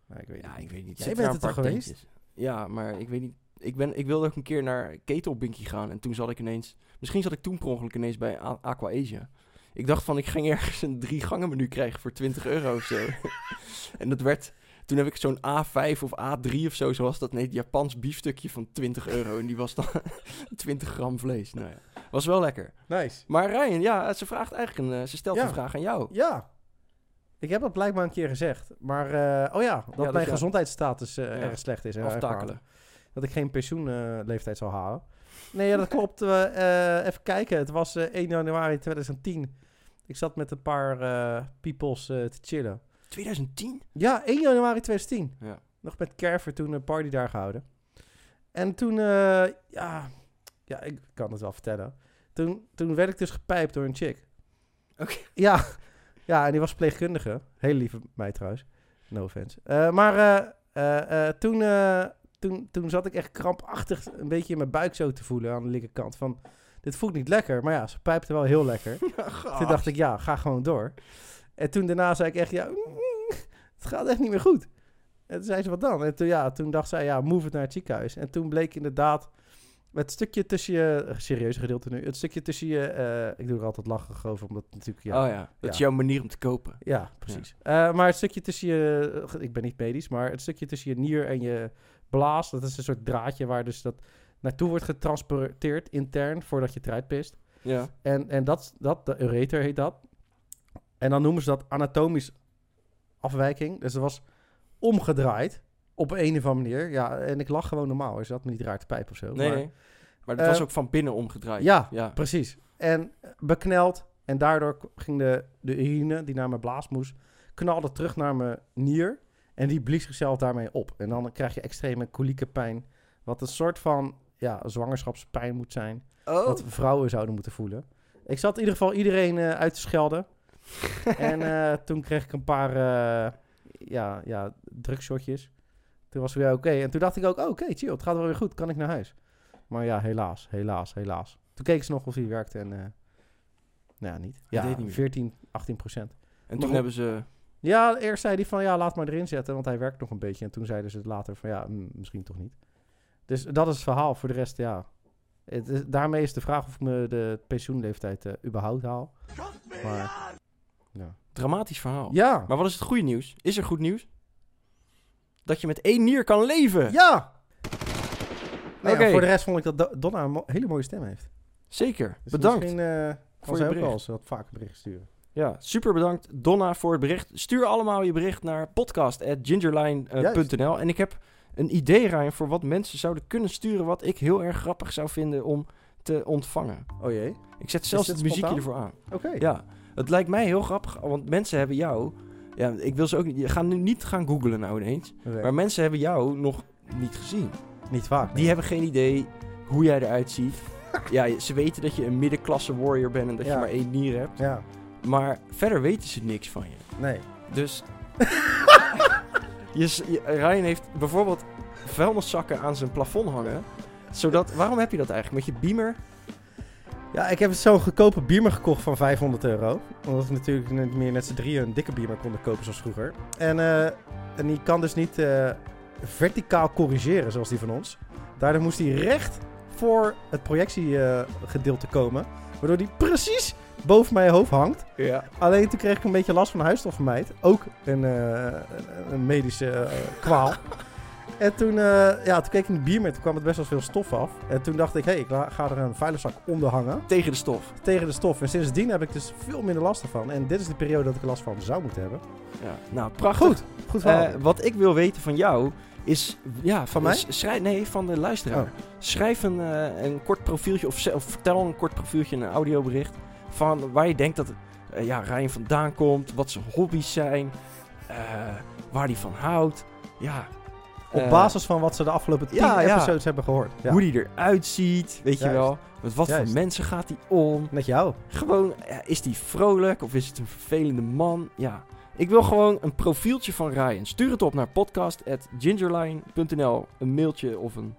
S3: Nou, ik weet het
S2: Ja,
S3: niet.
S2: ik weet niet.
S3: Jij
S2: Zitten
S3: bent
S2: daar
S3: er
S2: een paar
S3: toch geweest?
S2: tentjes? Ja, maar ik weet niet. Ik, ben, ik wilde ook een keer naar Ketelbinky gaan en toen zat ik ineens... Misschien zat ik toen per ongeluk ineens bij A- Aqua Asia. Ik dacht van, ik ging ergens een drie gangen menu krijgen voor 20 euro of zo.
S3: *laughs*
S2: en dat werd... Toen heb ik zo'n A5 of A3 of zo, zoals dat heet, Japans biefstukje van 20 euro. En die was dan *laughs* 20 gram vlees. Nou ja, was wel lekker.
S3: Nice.
S2: Maar Ryan, ja, ze vraagt eigenlijk een, eh, ze stelt
S3: Ja.
S2: een vraag aan jou.
S3: Ja. Ik heb dat blijkbaar een keer gezegd. Maar, eh, oh ja, dat
S2: dat
S3: mijn
S2: ja.
S3: gezondheidsstatus eh,
S2: Ja.
S3: erg slecht is. en erg
S2: Aftakelen.
S3: laag. Dat ik geen pensioenleeftijd zal halen. Nee, ja, dat klopt. We, eh, even kijken. Het was eh, 1 januari 2010. Ik zat met een paar eh peoples eh, te chillen.
S2: 2010?
S3: Ja, 1 januari 2010.
S2: Ja. *laughs*
S3: Nog met Kerver toen een party daar gehouden. En toen, eh, ja, ja, ik kan het wel vertellen. Toen, toen werd ik dus gepijpt door een chick.
S2: Oké.
S3: *laughs* Ja, ja, en die was verpleegkundige. Hele lieve meid trouwens. No offense. Eh, maar eh, eh, eh, toen, eh, toen, toen zat ik echt krampachtig een beetje in mijn buik zo te voelen aan de linkerkant. Van, dit voelt niet lekker. Maar ja, ze pijpte wel heel lekker. Toen dacht ik, ja, ga gewoon door. En toen daarna zei ik echt, ja, mm, het gaat echt niet meer goed. En toen zei ze, wat dan? En toen, ja, toen dacht zij, ja, move het naar het ziekenhuis. En toen bleek inderdaad het stukje tussen je... eh, Serieuze gedeelte nu. Het stukje tussen je... eh, ik doe er altijd lachen over, omdat het natuurlijk... Ja,
S2: Oh ja, dat
S3: Ja.
S2: is jouw manier om te kopen.
S3: ja, precies. Eh, maar het stukje tussen je... Ik ben niet medisch, maar het stukje tussen je nier en je blaas... Dat is een soort draadje waar dus dat naartoe wordt getransporteerd intern... voordat je het eruit pist.
S2: Ja.
S3: En, en dat, dat, de ureter heet dat. En dan noemen ze dat anatomisch afwijking. Dus dat was omgedraaid op een of andere manier. Ja, en ik lag gewoon normaal. Dus dat me niet raar te pijp of zo.
S2: Nee,
S3: Maar-
S2: nee. Maar dat
S3: Eh,
S2: was ook van binnen omgedraaid.
S3: Ja,
S2: ja.
S3: precies. En bekneld. En daardoor k- ging de, de urine die naar mijn blaas moest, knalde terug naar mijn nier. En die blies zichzelf daarmee op. En dan krijg je extreme kolieke pijn. Wat een soort van ja, zwangerschapspijn moet zijn.
S2: Oh.
S3: Wat vrouwen zouden moeten voelen. Ik zat in ieder geval iedereen eh, uit te
S2: *laughs*
S3: schelden. en eh, toen kreeg ik een paar eh ja, ja, drugshotjes. Toen was het weer oké. En toen dacht ik ook, oh, oké, chill, het gaat wel weer goed. Kan ik naar huis? Maar ja, helaas, helaas, helaas. Toen keken ze nog of hij werkte en... eh, nou, ja, niet. Ja,
S2: deed niet meer.
S3: 14, 18 procent.
S2: En
S3: Maar
S2: toen
S3: goed.
S2: hebben ze...
S3: Ja, eerst zei hij van, ja, laat maar erin zetten, want hij werkt nog een beetje. En toen zeiden ze het later van, ja, mm, misschien toch niet. Dus dat is het verhaal. Voor de rest, ja. Het is- daarmee is de vraag of ik me de pensioenleeftijd eh, überhaupt haal. Maar,
S2: Dramatisch verhaal.
S3: ja,
S2: Maar wat is het goede nieuws? Is er goed nieuws? Dat je met één nier kan leven.
S3: ja! Nou ja,
S2: Oké.
S3: voor de rest vond ik dat Do- Donna een mo- hele mooie stem heeft.
S2: Zeker.
S3: Dus
S2: bedankt.
S3: Misschien eh
S2: voor
S3: kan
S2: je
S3: zij ook
S2: bericht.
S3: wel eens wat vaker berichten sturen.
S2: Ja, super bedankt Donna voor het bericht. Stuur allemaal je bericht naar
S3: Juist.
S2: podcast.gingerline.nl. En ik heb een idee, Ryan, voor wat mensen zouden kunnen sturen... wat ik heel erg grappig zou vinden om te ontvangen.
S3: Oh jee.
S2: Ik zet zelfs
S3: dit
S2: het muziekje ervoor
S3: spontaan?
S2: aan.
S3: Oké.
S2: Ja, het lijkt mij heel grappig, want mensen hebben jou... Ja, ik wil ze ook niet... Je gaat nu niet gaan googlen nou ineens.
S3: Oké.
S2: Maar mensen hebben jou nog niet gezien.
S3: Niet vaak.
S2: Die hebben geen idee hoe jij eruit ziet.
S3: *laughs*
S2: Ja, ze weten dat je een middenklasse warrior bent en dat
S3: Ja.
S2: je maar één nier hebt.
S3: Ja,
S2: Maar verder weten ze niks van je.
S3: nee.
S2: Dus... *laughs* je, s- je- Ryan heeft bijvoorbeeld vuilniszakken aan zijn plafond hangen. Zodat... Waarom heb je dat eigenlijk? Met je beamer?
S3: Ja, ik heb zo'n goedkope biermer gekocht van 500 euro. Omdat we natuurlijk niet meer met z'n drieën een dikke biermer konden kopen zoals vroeger. En, eh, en die kan dus niet eh, verticaal corrigeren zoals die van ons. Daardoor moest hij recht voor het projectiegedeelte eh, komen. Waardoor die precies boven mijn hoofd hangt.
S2: Ja.
S3: Alleen toen kreeg ik een beetje last van huisstofvermijd. Ook een, eh, een- een medische eh,
S2: *laughs*
S3: kwaal. En toen, eh, ja, toen keek ik in de bier met, toen kwam het best wel veel stof af. En toen dacht ik, hé, hey, ik la- ga er een vuilerzak onder hangen.
S2: Tegen de stof.
S3: Tegen de stof. En sindsdien heb ik dus veel minder last ervan. En dit is de periode dat ik er last van zou moeten hebben.
S2: Ja. Nou, prachtig.
S3: Goed, *laughs* goed verhaal.
S2: Eh, wat ik wil weten van jou is... Ja,
S3: Van mij?
S2: s- Schrijf, nee, van de luisteraar.
S3: Oh.
S2: Schrijf een, eh, een kort profieltje of, ze- of vertel een kort profieltje in een audiobericht... van waar je denkt dat eh, ja, Ryan vandaan komt, wat zijn hobby's zijn... eh, waar hij van houdt. Ja,
S3: Op
S2: eh,
S3: basis van wat ze de afgelopen tien
S2: ja, ja.
S3: episodes hebben gehoord. Ja.
S2: hoe hij eruit ziet, weet je
S3: Juist.
S2: wel. Met wat
S3: Juist.
S2: voor mensen gaat hij om.
S3: Met jou.
S2: Gewoon, eh, is die vrolijk of is het een vervelende man? Ja. Ik wil gewoon een profieltje van Ryan. Stuur het op naar podcast.gingerline.nl. Een mailtje of een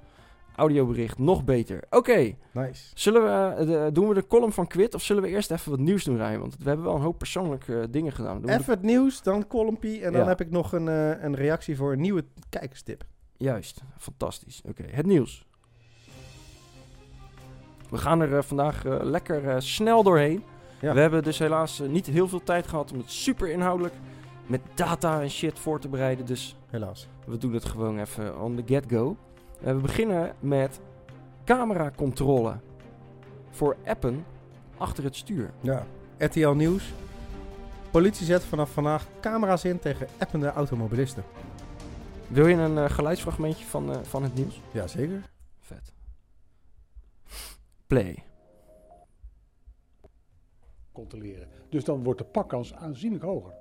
S2: audiobericht, nog beter. Oké,
S3: Nice.
S2: zullen we, eh, de- doen we de column van Quit of zullen we eerst even wat nieuws doen, Ryan? Want we hebben wel een hoop persoonlijke eh, dingen gedaan. Doen we de-
S3: Even het nieuws, dan Columpy. En dan
S2: Ja.
S3: heb ik nog een, eh, een reactie voor een nieuwe kijkerstip.
S2: Juist, fantastisch. Oké, het nieuws. We gaan er eh, vandaag eh, lekker eh, snel doorheen.
S3: Ja.
S2: We hebben dus helaas eh, niet heel veel tijd gehad om het super inhoudelijk met data en shit voor te bereiden. Dus
S3: Helaas.
S2: we doen het gewoon even on the get-go. Eh, we beginnen met cameracontrole voor appen achter het stuur.
S3: Ja. RTL Nieuws. Politie zet vanaf vandaag camera's in tegen appende automobilisten.
S2: Wil je een eh, geluidsfragmentje van, eh, van het nieuws?
S3: Jazeker.
S2: Vet. Play.
S7: controleren. Dus dan wordt de pakkans aanzienlijk hoger.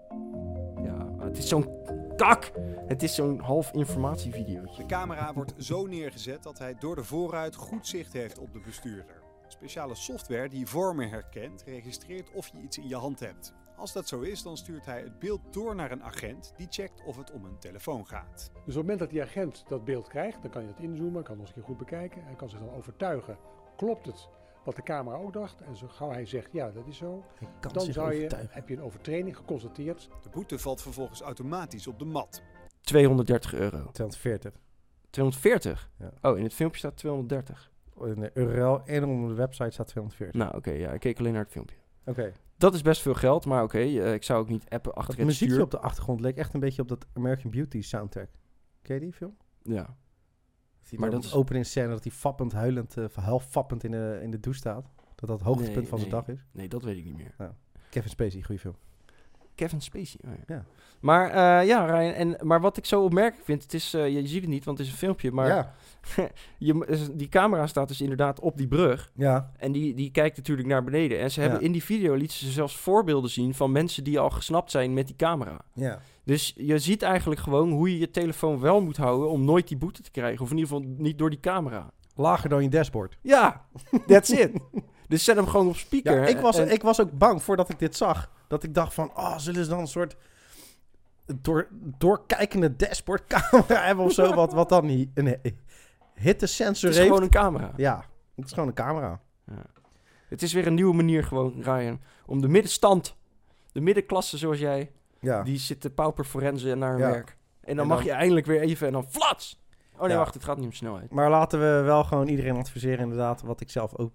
S2: Ja, maar het is zo'n kak. Het is zo'n half informatievideootje.
S8: De camera wordt zo neergezet dat hij door de voorruit goed zicht heeft op de bestuurder. Speciale software die vormen herkent, registreert of je iets in je hand hebt. Als dat zo is, dan stuurt hij het beeld door naar een agent die checkt of het om een telefoon gaat.
S7: Dus op het moment dat die agent dat beeld krijgt, dan kan je het inzoomen, kan het nog eens een keer goed bekijken en kan zich dan overtuigen. Klopt het wat de camera ook dacht? En zo gauw hij zegt ja, dat is zo, dan zou je, heb je een overtreding geconstateerd.
S8: De boete valt vervolgens automatisch op de mat.
S2: 230 euro.
S3: 240.
S2: 240?
S3: Ja.
S2: Oh, in het filmpje staat 230.
S3: In de URL en onder de website staat 240.
S2: Nou, oké, ja, ik keek alleen naar het filmpje.
S3: Oké.
S2: Dat is best veel geld, maar oké, eh, ik zou ook niet appen achter
S3: Het
S2: het
S3: muziekje
S2: stuur.
S3: op de achtergrond leek echt een beetje op dat American Beauty soundtrack. Ken je die film?
S2: Ja.
S3: Die
S2: Maar
S3: maar dat
S2: dat is-
S3: openingsscène dat hij fappend, huilend, eh half fappend in de, in de douche staat. Dat dat het hoogtepunt
S2: Nee,
S3: van zijn
S2: nee.
S3: dag is.
S2: Nee, dat weet ik niet meer.
S3: Kevin Spacey, goede film.
S2: Kevin Spacey. oh ja.
S3: Ja.
S2: Maar eh, ja, Ryan, en, maar wat ik zo opmerkelijk vind, het is, eh, je ziet het niet, want het is een filmpje, maar
S3: ja,
S2: je, mo- is- die camera staat dus inderdaad op die brug.
S3: ja,
S2: En die, die kijkt natuurlijk naar beneden. En ze hebben
S3: Ja.
S2: in die video lieten ze zelfs voorbeelden zien van mensen die al gesnapt zijn met die camera.
S3: ja.
S2: Dus je ziet eigenlijk gewoon hoe je je telefoon wel moet houden om nooit die boete te krijgen. Of in ieder geval niet door die camera.
S3: Lager dan je dashboard.
S2: Ja, that's it. *laughs* dus zet hem gewoon op
S3: Ja,
S2: speaker.
S3: ik, was,
S2: En-
S3: ik was ook bang voordat ik dit zag. Dat ik dacht van, oh, zullen ze dan een soort door, doorkijkende dashboardcamera *laughs* hebben of zo? wat, wat dan niet een he- hittesensor
S2: het is
S3: heeft.
S2: gewoon een camera.
S3: Ja, het is gewoon een camera.
S2: Het is weer een nieuwe manier gewoon, Ryan, om de middenstand, de middenklasse zoals jij,
S3: Ja.
S2: die zit te pauper forensen naar hun
S3: Ja.
S2: werk. En dan
S3: En
S2: mag
S3: dan-
S2: je eindelijk weer even en dan flats! Oh nee,
S3: Ja.
S2: wacht, het gaat niet om snelheid.
S3: Maar laten we wel gewoon iedereen adviseren inderdaad, wat ik zelf ook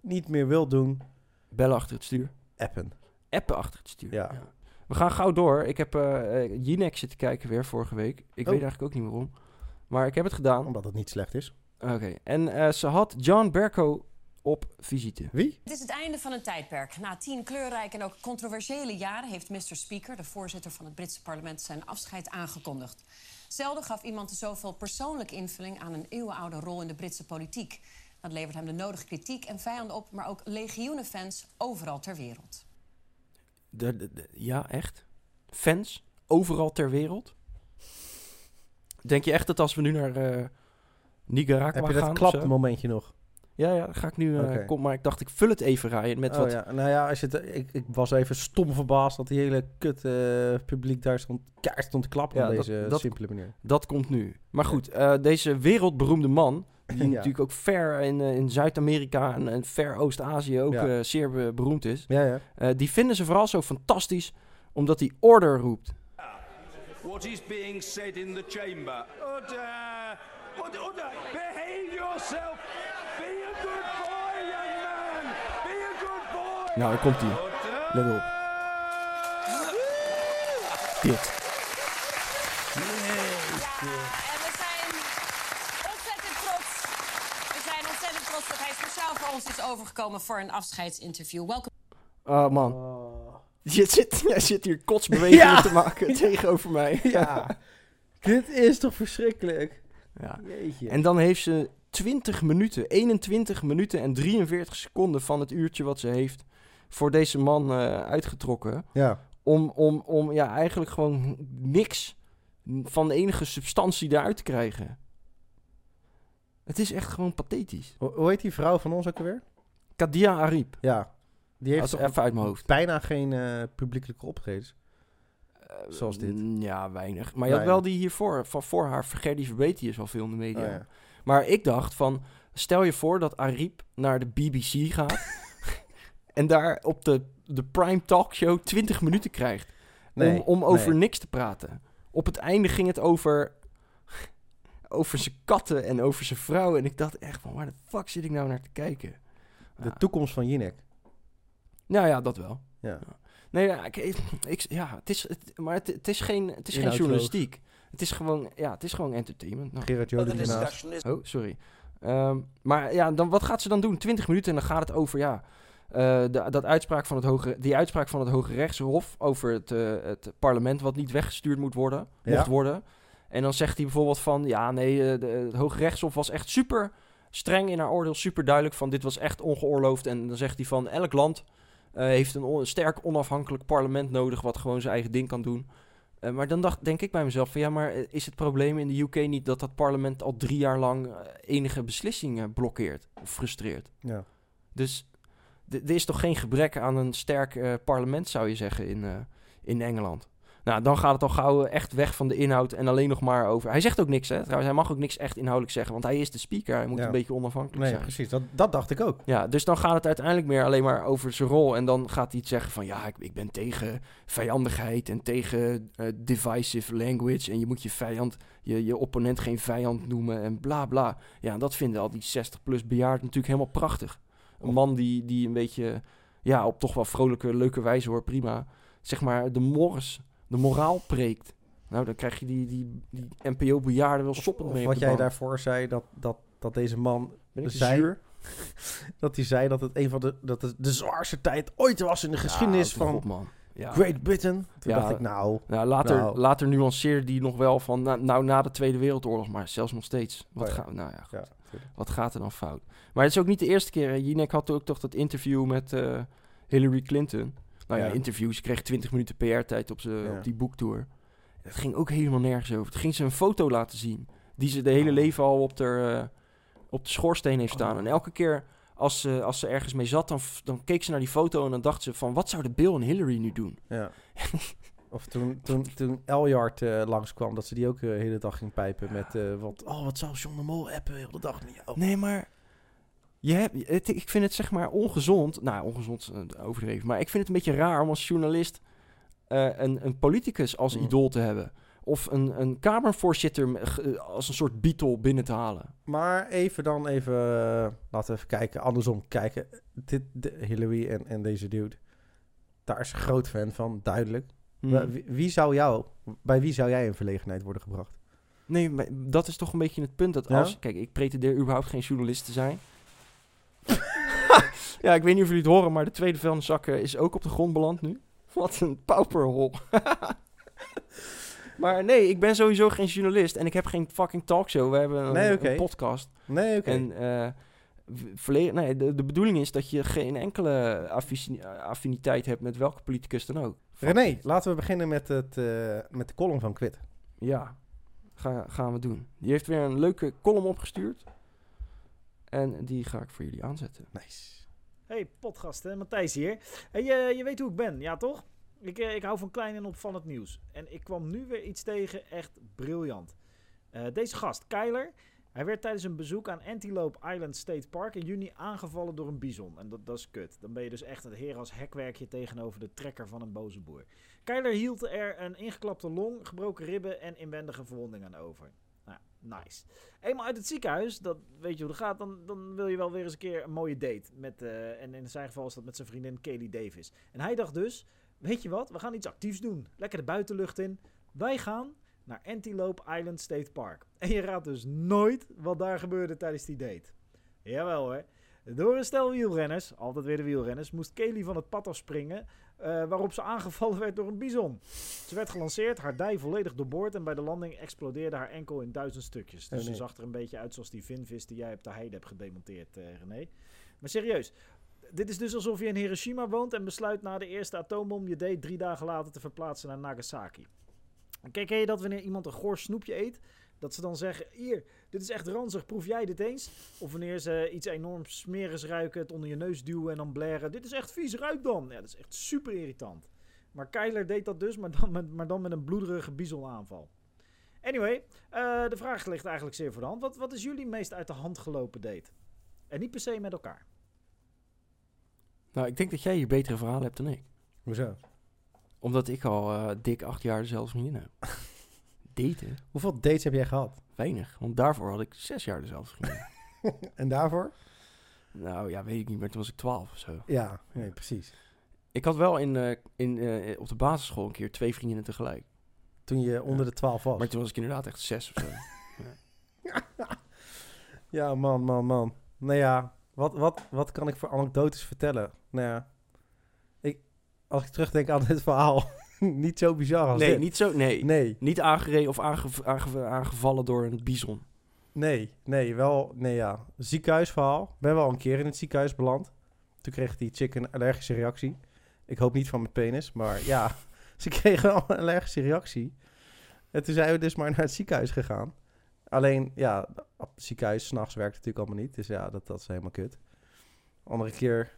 S3: niet meer wil doen,
S2: Bellen achter het stuur.
S3: appen.
S2: appen achter het stuur.
S3: Ja.
S2: We gaan gauw door. Ik heb eh eh, Jinek zitten kijken weer vorige week. Ik
S3: Oh.
S2: weet eigenlijk ook niet waarom. Maar ik heb het gedaan.
S3: Omdat het niet slecht is.
S2: Oké. En eh, ze had John Berko op visite.
S3: Wie?
S9: Het is het einde van een tijdperk. Na tien kleurrijke en ook controversiële jaren heeft Mr. Speaker, de voorzitter van het Britse parlement, zijn afscheid aangekondigd. Zelden gaf iemand zoveel persoonlijke invulling aan een eeuwenoude rol in de Britse politiek. Dat levert hem de nodige kritiek en vijanden op, maar ook legioenen fans overal ter wereld.
S2: De, de- de- ja, echt. Fans. Overal ter wereld. Denk je echt dat als we nu naar eh Nicaragua
S3: Heb je
S2: gaan... dus,
S3: dat
S2: of zo-
S3: klapmomentje nog?
S2: Ja, ja. dat Ga ik nu... eh,
S3: Oké.
S2: Kom, maar ik dacht ik vul het even, Ryan. Met
S3: oh,
S2: wat...
S3: ja. Nou ja, als je het, ik, ik was even stom verbaasd dat die hele kut eh, publiek daar stond, kaart stond te klappen
S2: Ja,
S3: op
S2: dat-
S3: deze
S2: dat-
S3: simpele manier.
S2: Dat komt nu. Maar goed, eh, deze wereldberoemde man, die
S3: Ja.
S2: natuurlijk ook ver in, eh, in Zuid-Amerika en, en ver Oost-Azië ook
S3: Ja.
S2: eh, zeer be- beroemd is,
S3: Ja, ja.
S2: eh, die vinden ze vooral zo fantastisch omdat hij order roept.
S10: What is being said in the chamber? Order! Order! order. Behave yourself!
S2: Nou, daar komt ie. Let op. Dit.
S9: en we zijn ontzettend trots. We zijn ontzettend trots dat hij speciaal voor ons is overgekomen voor een afscheidsinterview. Welkom
S2: Oh man. Je zit, *laughs* jij zit hier kotsbewegingen
S3: Ja.
S2: te *laughs* maken tegenover mij.
S3: Ja. Dit is toch verschrikkelijk?
S2: *laughs* ja.
S3: Jeetje.
S2: En dan heeft ze 20 minuten, 21 minuten en 43 seconden van het uurtje wat ze heeft voor deze man eh, uitgetrokken.
S3: ja.
S2: Om, om, om ja, eigenlijk gewoon niks van enige substantie daaruit te krijgen. Het is echt gewoon pathetisch.
S3: Ho- Hoe heet die vrouw van ons ook alweer?
S2: Kadia Ariep.
S3: Ja. Die heeft
S2: Dat
S3: toch
S2: is even uit mijn hoofd.
S3: bijna geen eh, publiekelijke optredens. Zoals dit.
S2: Mm, Ja, weinig. Maar je had wel
S3: Weinig.
S2: die hiervoor, van voor haar, Gerdy Verbeet, die is al veel in de media.
S3: Oh, ja.
S2: Maar ik dacht van, stel je voor dat Ariep naar de BBC
S3: *laughs*
S2: gaat en daar op de, de prime talkshow 20 minuten krijgt om,
S3: Nee,
S2: om over
S3: nee.
S2: niks te praten. Op het einde ging het over, over zijn katten en over zijn vrouw. En ik dacht echt van, waar de fuck zit ik nou naar te kijken?
S3: De toekomst van Jinek.
S2: Nou ja, dat wel.
S3: Ja.
S2: Nee, ja, ik, ik, ja het is, het- maar het, het is geen, het is geen
S3: Inhoudsloos.
S2: journalistiek. Het is gewoon, ja, het is gewoon entertainment. Nou,
S3: Gerard Joling ernaast.
S2: Oh, sorry. Ehm, maar ja, dan, wat gaat ze dan doen? 20 minuten en dan gaat het over, ja, eh, de, dat uitspraak van het hoge, die uitspraak van het Hoge Rechtshof over het, eh, het parlement wat niet weggestuurd moet worden,
S3: Ja.
S2: mocht worden. En dan zegt hij bijvoorbeeld van, ja, nee, eh, de, het Hoge Rechtshof was echt super streng in haar oordeel, super duidelijk van dit was echt ongeoorloofd. En dan zegt hij van, elk land eh, heeft een, on- een sterk onafhankelijk parlement nodig wat gewoon zijn eigen ding kan doen. Eh, maar dan dacht, denk ik bij mezelf van ja, maar eh, is het probleem in de UK niet dat dat parlement al drie jaar lang eh, enige beslissingen blokkeert of frustreert?
S3: Ja.
S2: Dus d- er is toch geen gebrek aan een sterk eh, parlement, zou je zeggen, in, eh, in Engeland. Nou, dan gaat het al gauw eh, echt weg van de inhoud en alleen nog maar over. Hij zegt ook niks, hè? Trouwens, hij mag ook niks echt inhoudelijk zeggen, want hij is de speaker. Hij moet
S3: Ja.
S2: een beetje onafhankelijk
S3: Nee,
S2: zijn.
S3: precies. Dat, dat dacht ik ook.
S2: Ja, dus dan gaat het uiteindelijk meer alleen maar over zijn rol. En dan gaat hij iets zeggen van ja, ik, ik ben tegen vijandigheid en tegen eh, divisive language. En je moet je vijand, je, je opponent geen vijand noemen en bla bla. Ja, en dat vinden al die 60-plus bejaarden natuurlijk helemaal prachtig. Een man die, die een beetje, ja, op toch wel vrolijke, leuke wijze hoor, prima. Zeg maar de mores, de moraal preekt. Nou, dan krijg je die, die, die NPO-bejaarden wel soppend
S3: Of
S2: mee. op
S3: wat
S2: de
S3: jij
S2: bank.
S3: daarvoor zei, dat, dat, dat deze man
S2: Ben ik
S3: zei-
S2: zuur?
S3: *laughs* dat hij zei dat het een van de, dat het de zwaarste tijd ooit was in de geschiedenis
S2: Ja,
S3: van
S2: houd op, man. Ja.
S3: Great Britain. Toen
S2: Ja.
S3: dacht ik, nou,
S2: Nou, later,
S3: Nou.
S2: later nuanceerde die nog wel van, na- nou, na de Tweede Wereldoorlog, maar zelfs nog steeds. Wat,
S3: Oh ja.
S2: ga- nou ja, goed.
S3: Ja, tuurlijk.
S2: wat gaat er dan fout? Maar het is ook niet de eerste keer. hè. Jinek had ook toch dat interview met eh, Hillary Clinton. Nou ja,
S3: Ja.
S2: interviews. Ze kreeg 20 minuten PR-tijd op, ze
S3: Ja.
S2: op die boektour. Het ging ook helemaal nergens over. Het ging ze een foto laten zien, die ze de hele
S3: Oh.
S2: leven al op de, eh, op de schoorsteen heeft staan. En elke keer als ze, als ze ergens mee zat, dan, f- dan keek ze naar die foto en dan dacht ze van, wat zouden Bill en Hillary nu doen?
S3: *laughs* ja. Of toen, toen, toen Eljard eh langskwam, dat ze die ook eh, de hele dag ging pijpen met eh, wat... Oh, wat zou John de Mol appen heel de dag met jou?
S2: Nee, maar je hebt, het, ik vind het zeg maar ongezond. Nou, ongezond is, eh, overdreven. Maar ik vind het een beetje raar om als journalist eh, een, een politicus als
S3: Mm.
S2: idool te hebben. Of een, een kamervoorzitter me- ge- als een soort Beatle binnen te halen.
S3: Maar even dan even, eh, laten we even kijken, andersom kijken. Dit, de, Hillary en, en deze dude, daar is een groot fan van, duidelijk. Maar
S2: Mm.
S3: Wie, wie zou jou, bij wie zou jij in verlegenheid worden gebracht?
S2: Nee, maar dat is toch een beetje het punt. Dat
S3: Ja?
S2: als, kijk, ik pretendeer überhaupt geen journalist te
S3: *laughs*
S2: zijn. ja, ik weet niet of jullie het horen, maar de tweede vuilniszak eh, is ook op de grond beland nu. *laughs* Wat een pauperhol. *laughs* maar nee, ik ben sowieso geen journalist en ik heb geen fucking talkshow. We hebben een,
S3: Nee, oké.
S2: een podcast.
S3: Nee, oké.
S2: En eh, v- verle- nee, de, de bedoeling is dat je geen enkele affici- affiniteit hebt met welke politicus dan ook. Fuck
S3: René,
S2: it.
S3: laten we beginnen met, het, eh, met de column van Quit.
S2: Ja, ga, gaan we doen. Die heeft weer een leuke column opgestuurd. En die ga ik voor jullie aanzetten.
S3: Nice.
S11: Hey, potgasten, Matthijs hier. Hey, eh, je, je weet hoe ik ben, ja toch? Ik, eh, ik hou van klein en opvallend nieuws. En ik kwam nu weer iets tegen, echt briljant. Eh, deze gast, Kyler, hij werd tijdens een bezoek aan Antelope Island State Park in juni aangevallen door een bison. En dat, dat is kut. Dan ben je dus echt een heer als hekwerkje tegenover de trekker van een boze boer. Kyler hield er een ingeklapte long, gebroken ribben en inwendige verwondingen aan over. Nou, Nice. Eenmaal uit het ziekenhuis, dat weet je hoe dat gaat, dan, dan wil je wel weer eens een keer een mooie date. Met, eh, en in zijn geval is dat met zijn vriendin Kelly Davis. En hij dacht dus, weet je wat, we gaan iets actiefs doen. Lekker de buitenlucht in. Wij gaan naar Antelope Island State Park. En je raadt dus nooit wat daar gebeurde tijdens die date. Jawel hoor. Door een stel wielrenners, altijd weer de wielrenners, moest Kelly van het pad afspringen. eh, waarop ze aangevallen werd door een bison. Ze werd gelanceerd, haar dij volledig doorboord. En bij de landing explodeerde haar enkel in duizend stukjes. Dus
S3: Oh, nee.
S11: ze zag er een beetje uit zoals die vinvis die jij op de heide hebt gedemonteerd, eh, René. Maar serieus, dit is dus alsof je in Hiroshima woont. en besluit na de eerste atoombom je date drie dagen later te verplaatsen naar Nagasaki. En Kijk, ken je dat wanneer iemand een goor snoepje eet? Dat ze dan zeggen, hier, dit is echt ranzig, proef jij dit eens? Of wanneer ze iets enorm smerigs ruiken, het onder je neus duwen en dan blaren. Dit is echt vies, ruik dan. Ja, dat is echt super irritant. Maar Kyler deed dat dus, maar dan met, maar dan met een bloederige bizonaanval. Anyway, eh, de vraag ligt eigenlijk zeer voor de hand. Wat, wat is jullie meest uit de hand gelopen date? En niet per se met elkaar.
S2: Nou, ik denk dat jij hier betere verhalen hebt dan ik.
S3: Hoezo?
S2: Omdat ik al eh, dik acht jaar dezelfde vriendin *laughs* heb. Daten?
S3: Hoeveel dates heb jij gehad?
S2: Weinig. Want daarvoor had ik zes jaar dezelfde *laughs* vriendin.
S3: *laughs* En daarvoor?
S2: nou ja, weet ik niet meer. Toen was ik twaalf of zo.
S3: Ja, nee, precies.
S2: Ik had wel in, eh, in, eh, op de basisschool een keer twee vriendinnen tegelijk.
S3: Toen je onder de 12 was.
S2: Maar toen was ik inderdaad echt zes *laughs* of zo.
S3: Ja, man, man, man. Nou ja, wat, wat, wat kan ik voor anekdotes vertellen? Nou ja, ik, als ik terugdenk aan dit verhaal, *laughs* niet zo bizar als
S2: nee,
S3: dit.
S2: niet zo. Nee.
S3: Nee,
S2: Niet aangereden of aangev- aange- aangevallen door een bison.
S3: nee, nee, wel, nee ja. Ziekenhuisverhaal. Ben wel een keer in het ziekenhuis beland. Toen kreeg die chick een allergische reactie. Ik hoop niet van mijn penis, maar ja, *laughs* ze kreeg wel een allergische reactie. En toen zijn we dus maar naar het ziekenhuis gegaan. Alleen, ja, op het ziekenhuis s'nachts werkt het natuurlijk allemaal niet. Dus ja, dat, dat is helemaal kut. Andere keer...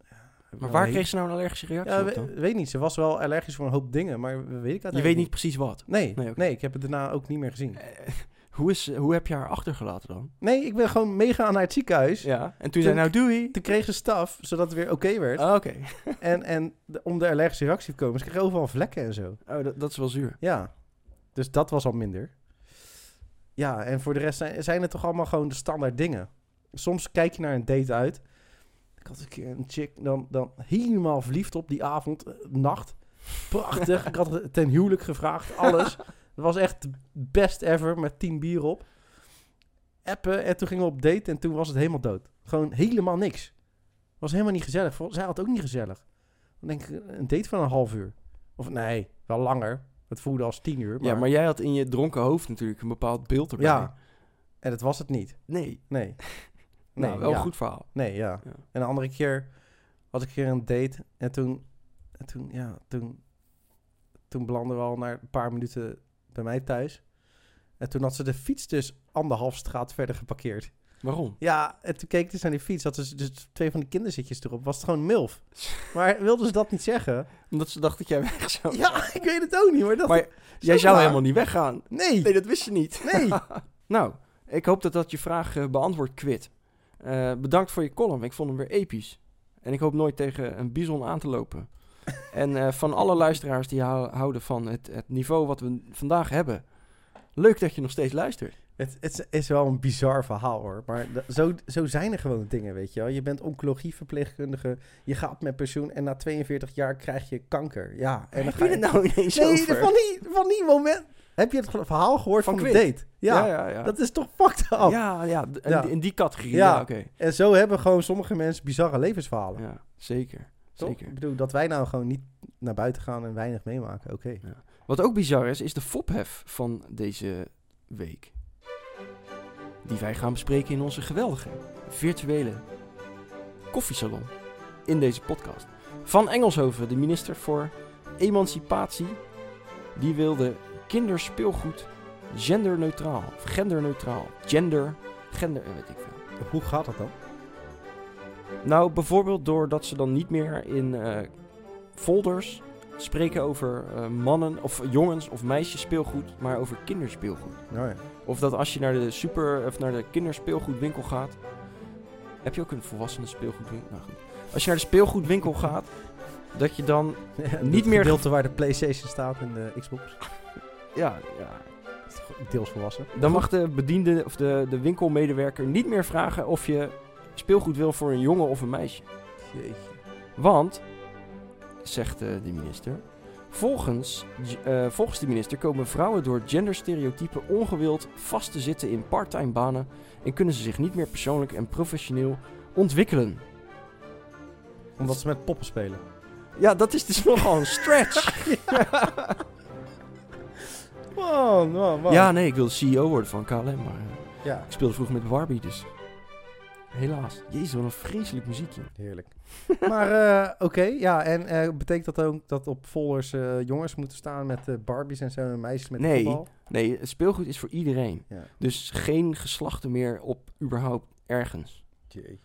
S3: ja, heb ik
S2: Maar
S3: wel
S2: waar
S3: een
S2: kreeg ze nou een allergische reactie
S3: Ja,
S2: op
S3: we-
S2: dan?
S3: weet niet. Ze was wel allergisch voor een hoop dingen, maar we- weet ik
S2: Je
S3: uiteindelijk
S2: weet niet precies wat.
S3: Nee,
S2: Nee,
S3: nee,
S2: oké.
S3: ik heb het daarna ook niet meer gezien.
S2: Eh, hoe, is, hoe heb je haar achtergelaten dan?
S3: Nee, ik ben gewoon meegaan naar het ziekenhuis.
S2: Ja. En toen zei nou doei.
S3: Toen kreeg ze staf, zodat het weer oké werd.
S2: Ah, Oké.
S3: En, en de- om de allergische reactie te komen. Ze kreeg overal vlekken en zo.
S2: Oh, dat, dat is wel zuur.
S3: Ja, dus dat was al minder. Ja, en voor de rest zijn, zijn het toch allemaal gewoon de standaard dingen. Soms kijk je naar een date uit. Ik had een keer een chick, dan, dan helemaal verliefd op die avond, eh, nacht. Prachtig. ik had het ten huwelijk gevraagd, *laughs* alles. Het was echt best ever met tien bier op. Appen en toen gingen we op date en toen was het helemaal dood. Gewoon helemaal niks. Was helemaal niet gezellig. Vol- Zij had het ook niet gezellig. Dan denk ik, een date van een half uur. Of nee, wel langer. Het voelde als tien uur.
S2: Ja, maar jij had in je dronken hoofd natuurlijk een bepaald beeld erbij.
S3: Ja. En dat was het niet.
S2: Nee. *laughs*
S3: Nee.
S2: Nou, wel
S3: ja.
S2: een goed verhaal.
S3: Nee, ja.
S2: Ja.
S3: En de andere keer had ik een keer een date. En toen, en toen ja, toen, toen belanden we al na een paar minuten bij mij thuis. En toen had ze de fiets dus anderhalf straat verder geparkeerd.
S2: Waarom?
S3: Ja, en toen keek ik dus naar die fiets. Had ze dus twee van de kinderzitjes erop. Was het
S2: *laughs*
S3: gewoon milf. Maar wilden ze dat niet zeggen?
S2: Omdat ze dacht dat jij weg zou.
S3: Ja, ik weet het ook niet. Maar,
S2: Oh.
S3: dat
S2: Maar jij zou
S3: raar.
S2: helemaal niet weggaan.
S3: Nee,
S2: Nee, dat wist je niet. *laughs*
S3: nee.
S2: Nou, ik hoop dat dat je vraag eh, beantwoord kwit. Eh, bedankt voor je column. Ik vond hem weer episch. En ik hoop nooit tegen een bison aan te lopen. en eh, van alle luisteraars die hou- houden van het, het niveau wat we vandaag hebben. Leuk dat je nog steeds luistert.
S3: Het, het is wel een bizar verhaal hoor. Maar da- zo, zo zijn er gewoon dingen, weet je wel. Je bent oncologieverpleegkundige. Je gaat met pensioen en na 42 jaar krijg je kanker. Ja, en dan
S2: Heb
S3: ga
S2: je
S3: je...
S2: het nou ineens
S3: nee,
S2: over?
S3: van die, van die moment... Heb je het ge- verhaal gehoord
S2: Van
S3: van, de
S2: Quint.
S3: date? Ja,
S2: ja, ja.
S3: dat is toch fucked up.
S2: ja, ja, d- in
S3: Ja.
S2: die- in die categorie. Ja,
S3: Ja.
S2: oké.
S3: En zo hebben gewoon sommige mensen bizarre levensverhalen.
S2: Ja, zeker.
S3: toch?
S2: Zeker.
S3: Ik bedoel, dat wij nou gewoon niet naar buiten gaan en weinig meemaken. Oké.
S2: Wat ook bizar is, is de fophef van deze week. Die wij gaan bespreken in onze geweldige, virtuele koffiesalon in deze podcast. Van Engelshoven, de minister voor emancipatie, die wilde kinderspeelgoed genderneutraal, of genderneutraal, gender, gender, eh, weet ik veel.
S3: Hoe gaat dat dan?
S2: Nou, bijvoorbeeld doordat ze dan niet meer in eh, folders spreken over eh, mannen of jongens of meisjes speelgoed, maar over kinderspeelgoed.
S3: Nou ja. *laughs*
S2: Of dat als je naar de super of naar de kinderspeelgoedwinkel gaat, heb je ook een volwassenen speelgoedwinkel. Nou goed. Als je naar de speelgoedwinkel gaat, dat je dan
S3: Ja,
S2: Niet
S3: het
S2: meer
S3: gedeelte waar de PlayStation staat en de Xbox.
S2: ja, ja,
S3: Ah, Deels volwassen.
S2: Dan mag de bediende of de, de winkelmedewerker niet meer vragen of je speelgoed wil voor een jongen of een meisje. Want, zegt eh, de minister, volgens, g- eh, volgens de minister komen vrouwen door genderstereotypen ongewild vast te zitten in parttime banen en kunnen ze zich niet meer persoonlijk en professioneel ontwikkelen.
S3: Omdat ze met poppen spelen.
S2: Ja, dat is dus *laughs* nogal een stretch.
S3: Man, man, man.
S2: Ja, nee, ik wilde CEO worden van KLM, maar eh,
S3: Ja,
S2: ik speelde vroeger met Warby, dus helaas. Jezus, wat een vreselijk muziekje.
S3: heerlijk. maar eh, oké, ja. En eh, betekent dat ook dat op folders eh, jongens moeten staan met eh, Barbies en zo en meisjes met
S2: Nee.
S3: voetbal?
S2: Nee, het speelgoed is voor iedereen.
S3: Ja.
S2: Dus geen geslachten meer op überhaupt ergens.
S3: Jeetje.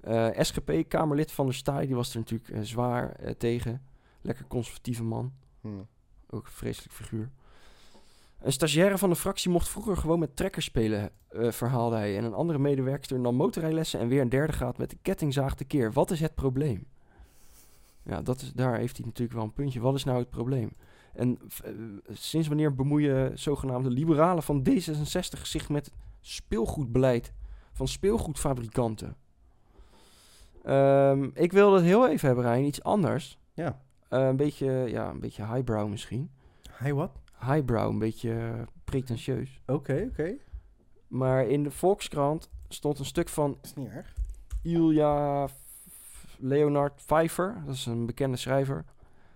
S2: Eh, SGP, Kamerlid van der Staaij, die was er natuurlijk eh, zwaar eh, tegen. Lekker conservatieve man.
S3: Hm.
S2: Ook een vreselijk figuur. Een stagiaire van de fractie mocht vroeger gewoon met trekkers spelen, eh, verhaalde hij. En een andere medewerkster nam motorrijlessen en weer een derde gaat met de kettingzaag tekeer. Wat is het probleem? Ja, dat is, daar heeft hij natuurlijk wel een puntje. Wat is nou het probleem? En f- eh, sinds wanneer bemoeien zogenaamde liberalen van D66 zich met speelgoedbeleid van speelgoedfabrikanten? Ehm, ik wilde het heel even hebben, Rijn. Iets anders.
S3: Ja.
S2: Eh, een, beetje, ja, een beetje highbrow misschien
S3: Hi, wat?
S2: highbrow, een beetje eh, pretentieus.
S3: Oké, oké.
S2: Maar in de Volkskrant stond een stuk van
S3: Is niet erg.
S2: Ilja F- Leonard Pfeiffer, dat is een bekende schrijver.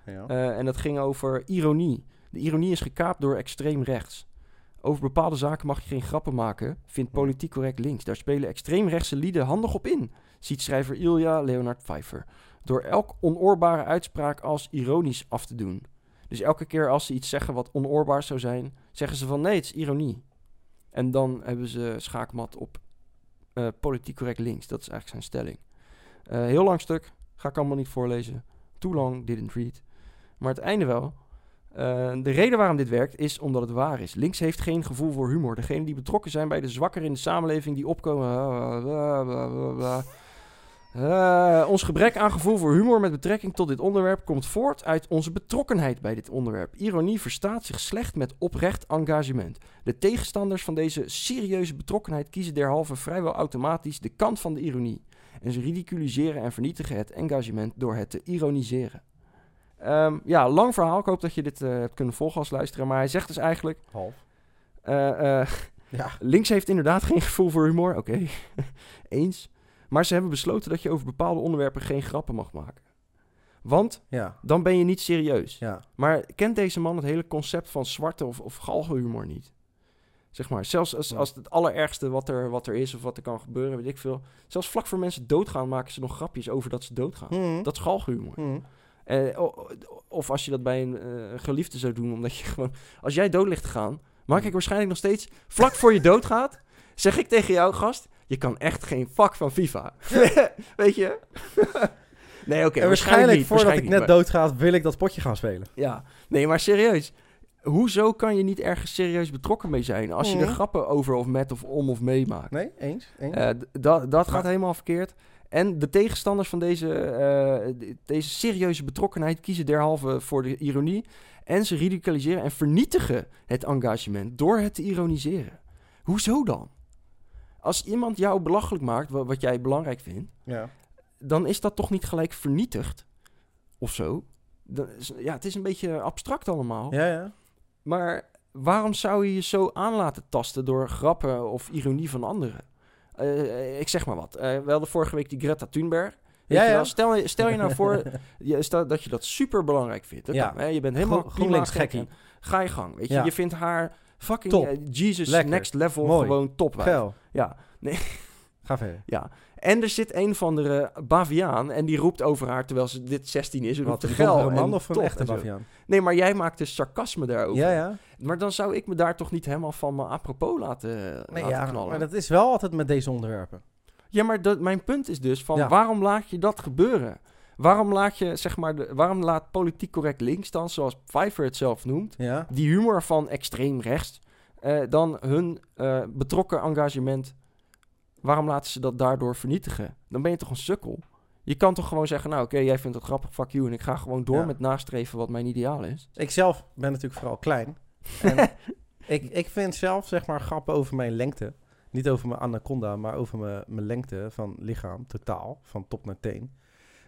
S3: Ja.
S2: Eh, en dat ging over ironie. De ironie is gekaapt door extreem rechts. Over bepaalde zaken mag je geen grappen maken, vindt politiek correct links. Daar spelen extreemrechtse lieden handig op in, ziet schrijver Ilja Leonard Pfeiffer. Door elk onoorbare uitspraak als ironisch af te doen. Dus elke keer als ze iets zeggen wat onoorbaar zou zijn, zeggen ze van nee, het is ironie. En dan hebben ze schaakmat op eh, politiek correct links. Dat is eigenlijk zijn stelling. Eh, heel lang stuk, ga ik allemaal niet voorlezen. Too long, didn't read. Maar het einde wel. Eh, de reden waarom dit werkt is omdat het waar is. Links heeft geen gevoel voor humor. Degenen die betrokken zijn bij de zwakkeren in de samenleving die opkomen. eh, bla, bla, bla, bla. Eh, ons gebrek aan gevoel voor humor met betrekking tot dit onderwerp komt voort uit onze betrokkenheid bij dit onderwerp. Ironie verstaat zich slecht met oprecht engagement. De tegenstanders van deze serieuze betrokkenheid kiezen derhalve vrijwel automatisch de kant van de ironie. En ze ridiculiseren en vernietigen het engagement door het te ironiseren. Ehm, ja, lang verhaal. Ik hoop dat je dit eh, hebt kunnen volgen als luisteraar. Maar hij zegt dus eigenlijk...
S3: Half.
S2: eh, eh,
S3: *laughs* Ja.
S2: Links heeft inderdaad geen gevoel voor humor. Oké, *laughs* eens. Maar ze hebben besloten dat je over bepaalde onderwerpen geen grappen mag maken. Want
S3: Ja.
S2: dan ben je niet serieus.
S3: Ja.
S2: Maar kent deze man het hele concept van zwarte of, of galgenhumor niet? Zeg maar, zelfs als,
S3: Ja.
S2: als het allerergste wat er, wat er is of wat er kan gebeuren, weet ik veel. Zelfs vlak voor mensen doodgaan maken ze nog grapjes over dat ze doodgaan.
S3: Hm.
S2: Ah, Dat is galgenhumor.
S3: Hm.
S2: Eh, o- o- of als je dat bij een eh, geliefde zou doen, omdat je *laughs* gewoon... Als jij dood ligt te gaan, maak ik waarschijnlijk nog steeds... Vlak voor je doodgaat, zeg ik tegen jou, gast... Je kan echt geen vak van FIFA. *laughs* Weet je? nee, oké.
S3: en waarschijnlijk
S2: niet,
S3: voordat
S2: waarschijnlijk
S3: ik
S2: niet,
S3: net
S2: maar-
S3: doodga, wil ik dat potje gaan spelen.
S2: ja, nee, maar serieus. Hoezo kan je niet ergens serieus betrokken mee zijn als je
S3: Mhm.
S2: er grappen over of met of om of meemaakt?
S3: Nee, eens? eens?
S2: Eh, d- dat dat gaat helemaal verkeerd. En de tegenstanders van deze, eh, d- deze serieuze betrokkenheid kiezen derhalve voor de ironie. En ze ridiculiseren en vernietigen het engagement door het te ironiseren. Hoezo dan? Als iemand jou belachelijk maakt, wa- wat jij belangrijk vindt
S3: ja.
S2: dan is dat toch niet gelijk vernietigd of zo? Dan is- ja, het is een beetje abstract allemaal.
S3: Ja, ja.
S2: Maar waarom zou je je zo aan laten tasten door grappen of ironie van anderen? Eh, ik zeg maar wat. Eh, we hadden vorige week die Greta Thunberg. Weet
S3: Ja,
S2: je
S3: ja.
S2: wel, Stel, je- stel je nou voor *laughs* je, stel dat je dat super belangrijk vindt. Dat
S3: Ja.
S2: kan, hè? Je bent helemaal
S3: Gro-
S2: prima
S3: GroenLinks
S2: gek
S3: gekkie.
S2: in. Ga je gang. Weet je?
S3: Ja.
S2: je vindt haar fucking
S3: Top.
S2: eh, Jesus
S3: Lekker.
S2: next level
S3: Mooi.
S2: gewoon top. wijf.
S3: *laughs* Geil.
S2: Ja.
S3: Ga verder.
S2: Ja, en er zit een van de baviaan en die roept over haar terwijl ze dit 16 is. Roept
S3: Wat,
S2: de
S3: een
S2: geil
S3: donkere man
S2: en
S3: of een
S2: tof
S3: echte
S2: en zo.
S3: baviaan?
S2: Nee, maar jij maakt dus sarcasme daarover.
S3: Ja, ja.
S2: Maar dan zou ik me daar toch niet helemaal van me apropos laten,
S3: Nee,
S2: laten
S3: ja.
S2: knallen.
S3: Maar dat is wel altijd met deze onderwerpen.
S2: Ja, maar dat, mijn punt is dus van
S3: Ja.
S2: waarom laat je dat gebeuren? Waarom laat je, zeg maar, de, waarom laat politiek correct links dan, zoals Pfeiffer het zelf noemt,
S3: Ja.
S2: die humor van extreem rechts, eh, dan hun eh, betrokken engagement, waarom laten ze dat daardoor vernietigen? Dan ben je toch een sukkel? Je kan toch gewoon zeggen, nou oké, jij vindt dat grappig, fuck you, en ik ga gewoon door
S3: Ja.
S2: met nastreven wat mijn ideaal is. *laughs*
S3: Ik zelf ben natuurlijk vooral klein. En Ik, ik vind zelf, zeg maar, grappen over mijn lengte. Niet over mijn anaconda, maar over mijn, mijn lengte van lichaam, totaal. Van top naar teen.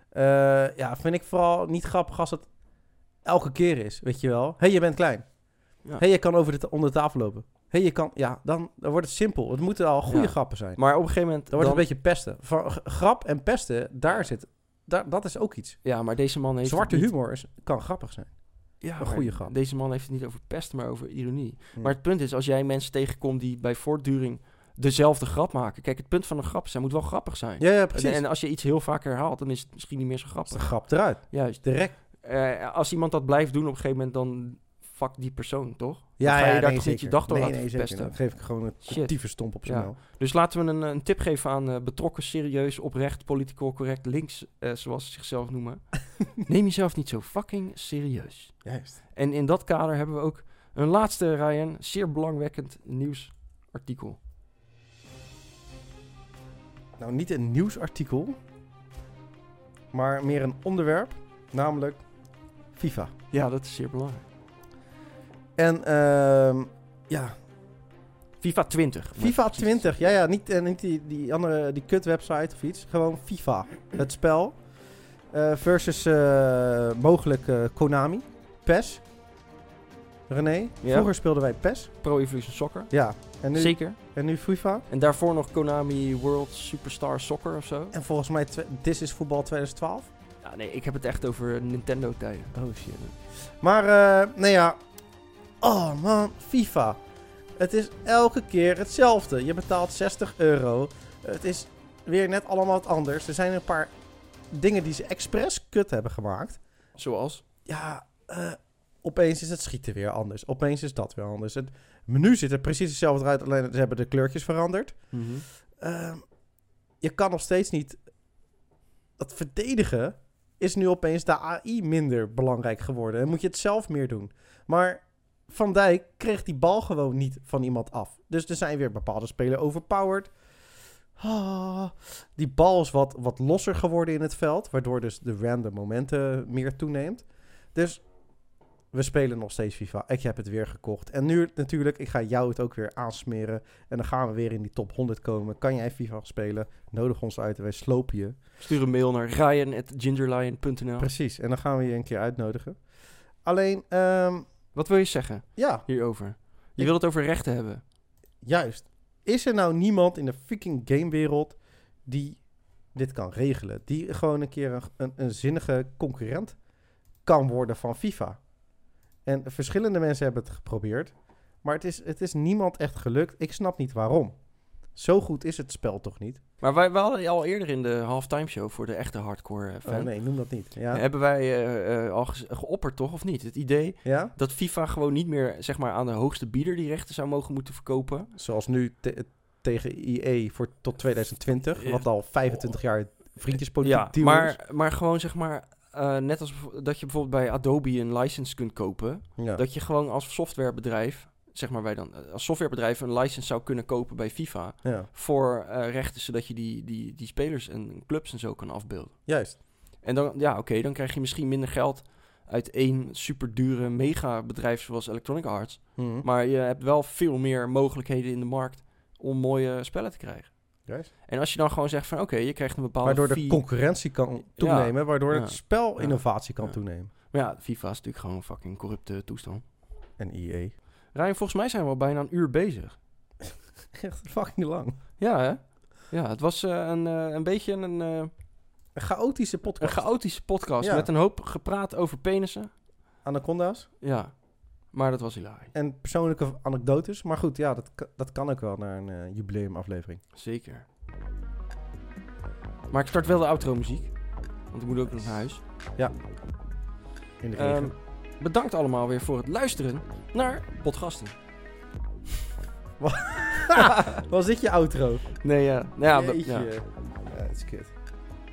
S3: Eh, ja, vind ik vooral niet grappig als het elke keer is, weet je wel. Hé, hey, je bent klein.
S2: Ja.
S3: hey, je kan over de, ta- onder de tafel lopen. hey, je kan... Ja, dan, dan wordt het simpel. Het moeten al goede
S2: Ja.
S3: grappen zijn.
S2: Maar op een gegeven moment...
S3: Dan wordt het een beetje pesten. Van, g- grap en pesten, daar zit... Daar, dat is ook iets.
S2: Ja, maar deze man heeft...
S3: Zwarte
S2: het niet-
S3: humor is, kan grappig zijn.
S2: Ja,
S3: Een
S2: maar
S3: goede grap.
S2: Deze man heeft het niet over pest, maar over ironie.
S3: Hmm.
S2: Maar het punt is, als jij mensen tegenkomt die bij voortduring dezelfde grap maken. Kijk, het punt van een grap is, hij moet wel grappig zijn.
S3: Ja, ja precies.
S2: En als je iets heel vaak herhaalt, dan is het misschien niet meer zo
S3: Als de
S2: grappig.
S3: grap eruit.
S2: Juist.
S3: Direct.
S2: Eh, als iemand dat blijft doen op een gegeven moment, dan fuck die persoon, toch? Dan
S3: Ja,
S2: ga
S3: ja,
S2: je daar
S3: nee,
S2: toch niet je
S3: zeker.
S2: dag door
S3: nee,
S2: laten
S3: nee, zeker.
S2: verpesten.
S3: Dan geef ik gewoon een
S2: Shit.
S3: tieve stomp op zijn
S2: Ja.
S3: mel.
S2: Dus laten we een, eh, een tip geven aan eh, betrokken, serieus, oprecht, political correct, links, eh, zoals ze zichzelf
S3: *laughs*
S2: noemen. Neem jezelf niet zo fucking serieus.
S3: Juist.
S2: En in dat kader hebben we ook een laatste, Ryan, zeer belangwekkend nieuwsartikel.
S3: Nou, niet een nieuwsartikel, maar meer een onderwerp, namelijk FIFA.
S2: Ja, dat is zeer belangrijk.
S3: En ehm, ja,
S2: FIFA 20. maar
S3: FIFA
S2: precies.
S3: 20. Ja, ja, niet, en niet die, die andere, die kut website of iets. Gewoon FIFA, het spel. Eh, versus eh, mogelijk eh, Konami, PES. René,
S2: Ja.
S3: vroeger speelden wij PES.
S2: Pro Evolution Soccer.
S3: Ja, en nu,
S2: Zeker.
S3: en nu FIFA.
S2: En daarvoor nog Konami World Superstar Soccer of zo.
S3: En volgens mij twe- This is Voetbal 2012.
S2: Ja, nee, ik heb het echt over Nintendo-tijden.
S3: Oh shit. Maar, eh, nou ja. Oh man, FIFA. Het is elke keer hetzelfde. Je betaalt 60 euro. Het is weer net allemaal wat anders. Er zijn een paar dingen die ze expres kut hebben gemaakt.
S2: Zoals?
S3: Ja, eh, opeens is het schieten weer anders. Opeens is dat weer anders. Het menu ziet er precies hetzelfde uit, alleen ze hebben de kleurtjes veranderd. Ehm, je kan nog steeds niet. Dat verdedigen is nu opeens de AI minder belangrijk geworden. En moet je het zelf meer doen. Maar Van Dijk kreeg die bal gewoon niet van iemand af. Dus er zijn weer bepaalde spelers overpowered. Ah, die bal is wat, wat losser geworden in het veld. Waardoor dus de random momenten meer toeneemt. Dus we spelen nog steeds FIFA. Ik heb het weer gekocht. En nu natuurlijk, ik ga jou het ook weer aansmeren. En dan gaan we weer in die top 100 komen. Kan jij FIFA spelen? Nodig ons uit en wij slopen je.
S2: Stuur een mail naar ryan.gingerlion.nl.
S3: Precies. En dan gaan we je een keer uitnodigen. Alleen, ehm,
S2: Wat wil je zeggen
S3: ja,
S2: hierover? Je
S3: Ik-
S2: wil het over rechten hebben.
S3: juist. Is er nou niemand in de fucking gamewereld die dit kan regelen? Die gewoon een keer een, een, een zinnige concurrent kan worden van FIFA? En verschillende mensen hebben het geprobeerd. Maar het is, het is niemand echt gelukt. Ik snap niet waarom. Zo goed is het spel toch niet?
S2: Maar wij, we hadden je al eerder in de halftime show voor de echte hardcore eh, fan.
S3: Oh nee, noem dat niet. Ja?
S2: Hebben wij eh, eh, al gez- geopperd, toch? Of niet? Het idee
S3: ja?
S2: dat FIFA gewoon niet meer zeg maar, aan de hoogste bieder die rechten zou mogen moeten verkopen.
S3: Zoals nu te- tegen IE voor tot 2020. Wat al 25 jaar vriendjespolitiek
S2: Ja,
S3: deal is.
S2: maar, maar gewoon zeg maar... eh, net als bijvo- dat je bijvoorbeeld bij Adobe een license kunt kopen.
S3: Ja.
S2: Dat je gewoon als softwarebedrijf, zeg maar wij dan, eh, als softwarebedrijf een license zou kunnen kopen bij FIFA.
S3: ja,
S2: Voor eh, rechten, zodat je die, die, die spelers en clubs en zo kan afbeelden.
S3: juist.
S2: En dan, ja, oké, dan krijg je misschien minder geld uit één superdure megabedrijf zoals Electronic Arts.
S3: Mhm.
S2: Maar je hebt wel veel meer mogelijkheden in de markt om mooie spellen te krijgen.
S3: Juist.
S2: En als je dan gewoon zegt van, oké, je krijgt een bepaalde
S3: Waardoor de
S2: fee-
S3: concurrentie kan toenemen. waardoor
S2: ja,
S3: het spel
S2: ja,
S3: innovatie kan
S2: ja.
S3: toenemen.
S2: Maar ja, FIFA is natuurlijk gewoon een fucking corrupte toestand.
S3: En E. IE.
S2: Ryan, volgens mij zijn we al bijna een uur bezig.
S3: *laughs* Echt fucking lang.
S2: Ja, hè? Ja, het was eh, een, eh, een beetje een, eh,
S3: Een chaotische
S2: een
S3: podcast.
S2: chaotische podcast
S3: Ja.
S2: met een hoop gepraat over penissen.
S3: Anaconda's.
S2: Ja, maar dat was hilarisch.
S3: En persoonlijke anekdotes. Maar goed, ja, dat, ka- dat kan ook wel naar een eh, jubileumaflevering.
S2: Zeker. Maar ik start wel de outro muziek. Want ik moet ook nog naar huis.
S3: In de
S2: Ehm,
S3: regen.
S2: bedankt allemaal weer voor het luisteren naar Podgasten. *laughs*
S3: Was dit je outro?
S2: Nee, ja. Nou ja, we-
S3: Jeetje.
S2: ja.
S3: Ja, het is kut.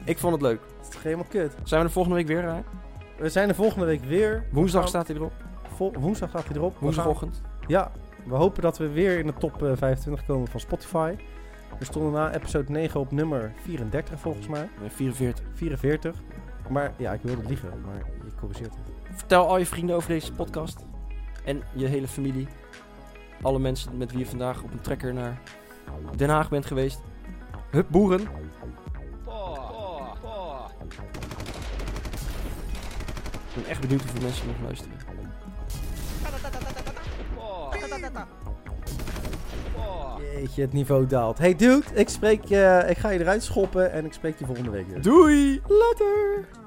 S2: Ik vond het leuk.
S3: Het is toch helemaal kut.
S2: Zijn we er volgende week weer, Rijn?
S3: We zijn er volgende week weer.
S2: Woensdag
S3: gaan-
S2: staat hij erop.
S3: Vol- woensdag gaat hij erop. We gaan-
S2: Woensdagochtend.
S3: Ja, we hopen dat we weer in de top eh, 25 komen van Spotify. We stonden na episode 9 op nummer 34 volgens mij.
S2: Nee, 44.
S3: 44. Maar ja, ik wilde liegen, maar je corrigeert het.
S2: Vertel al je vrienden over deze podcast. En je hele familie. alle mensen met wie je vandaag op een trekker naar Den Haag bent geweest. Hup, boeren. Ik ben echt benieuwd hoeveel mensen nog luisteren.
S3: Jeetje, het niveau daalt. Hey dude, ik, spreek, eh, ik ga je eruit schoppen en ik spreek je volgende week weer.
S2: Doei! Later!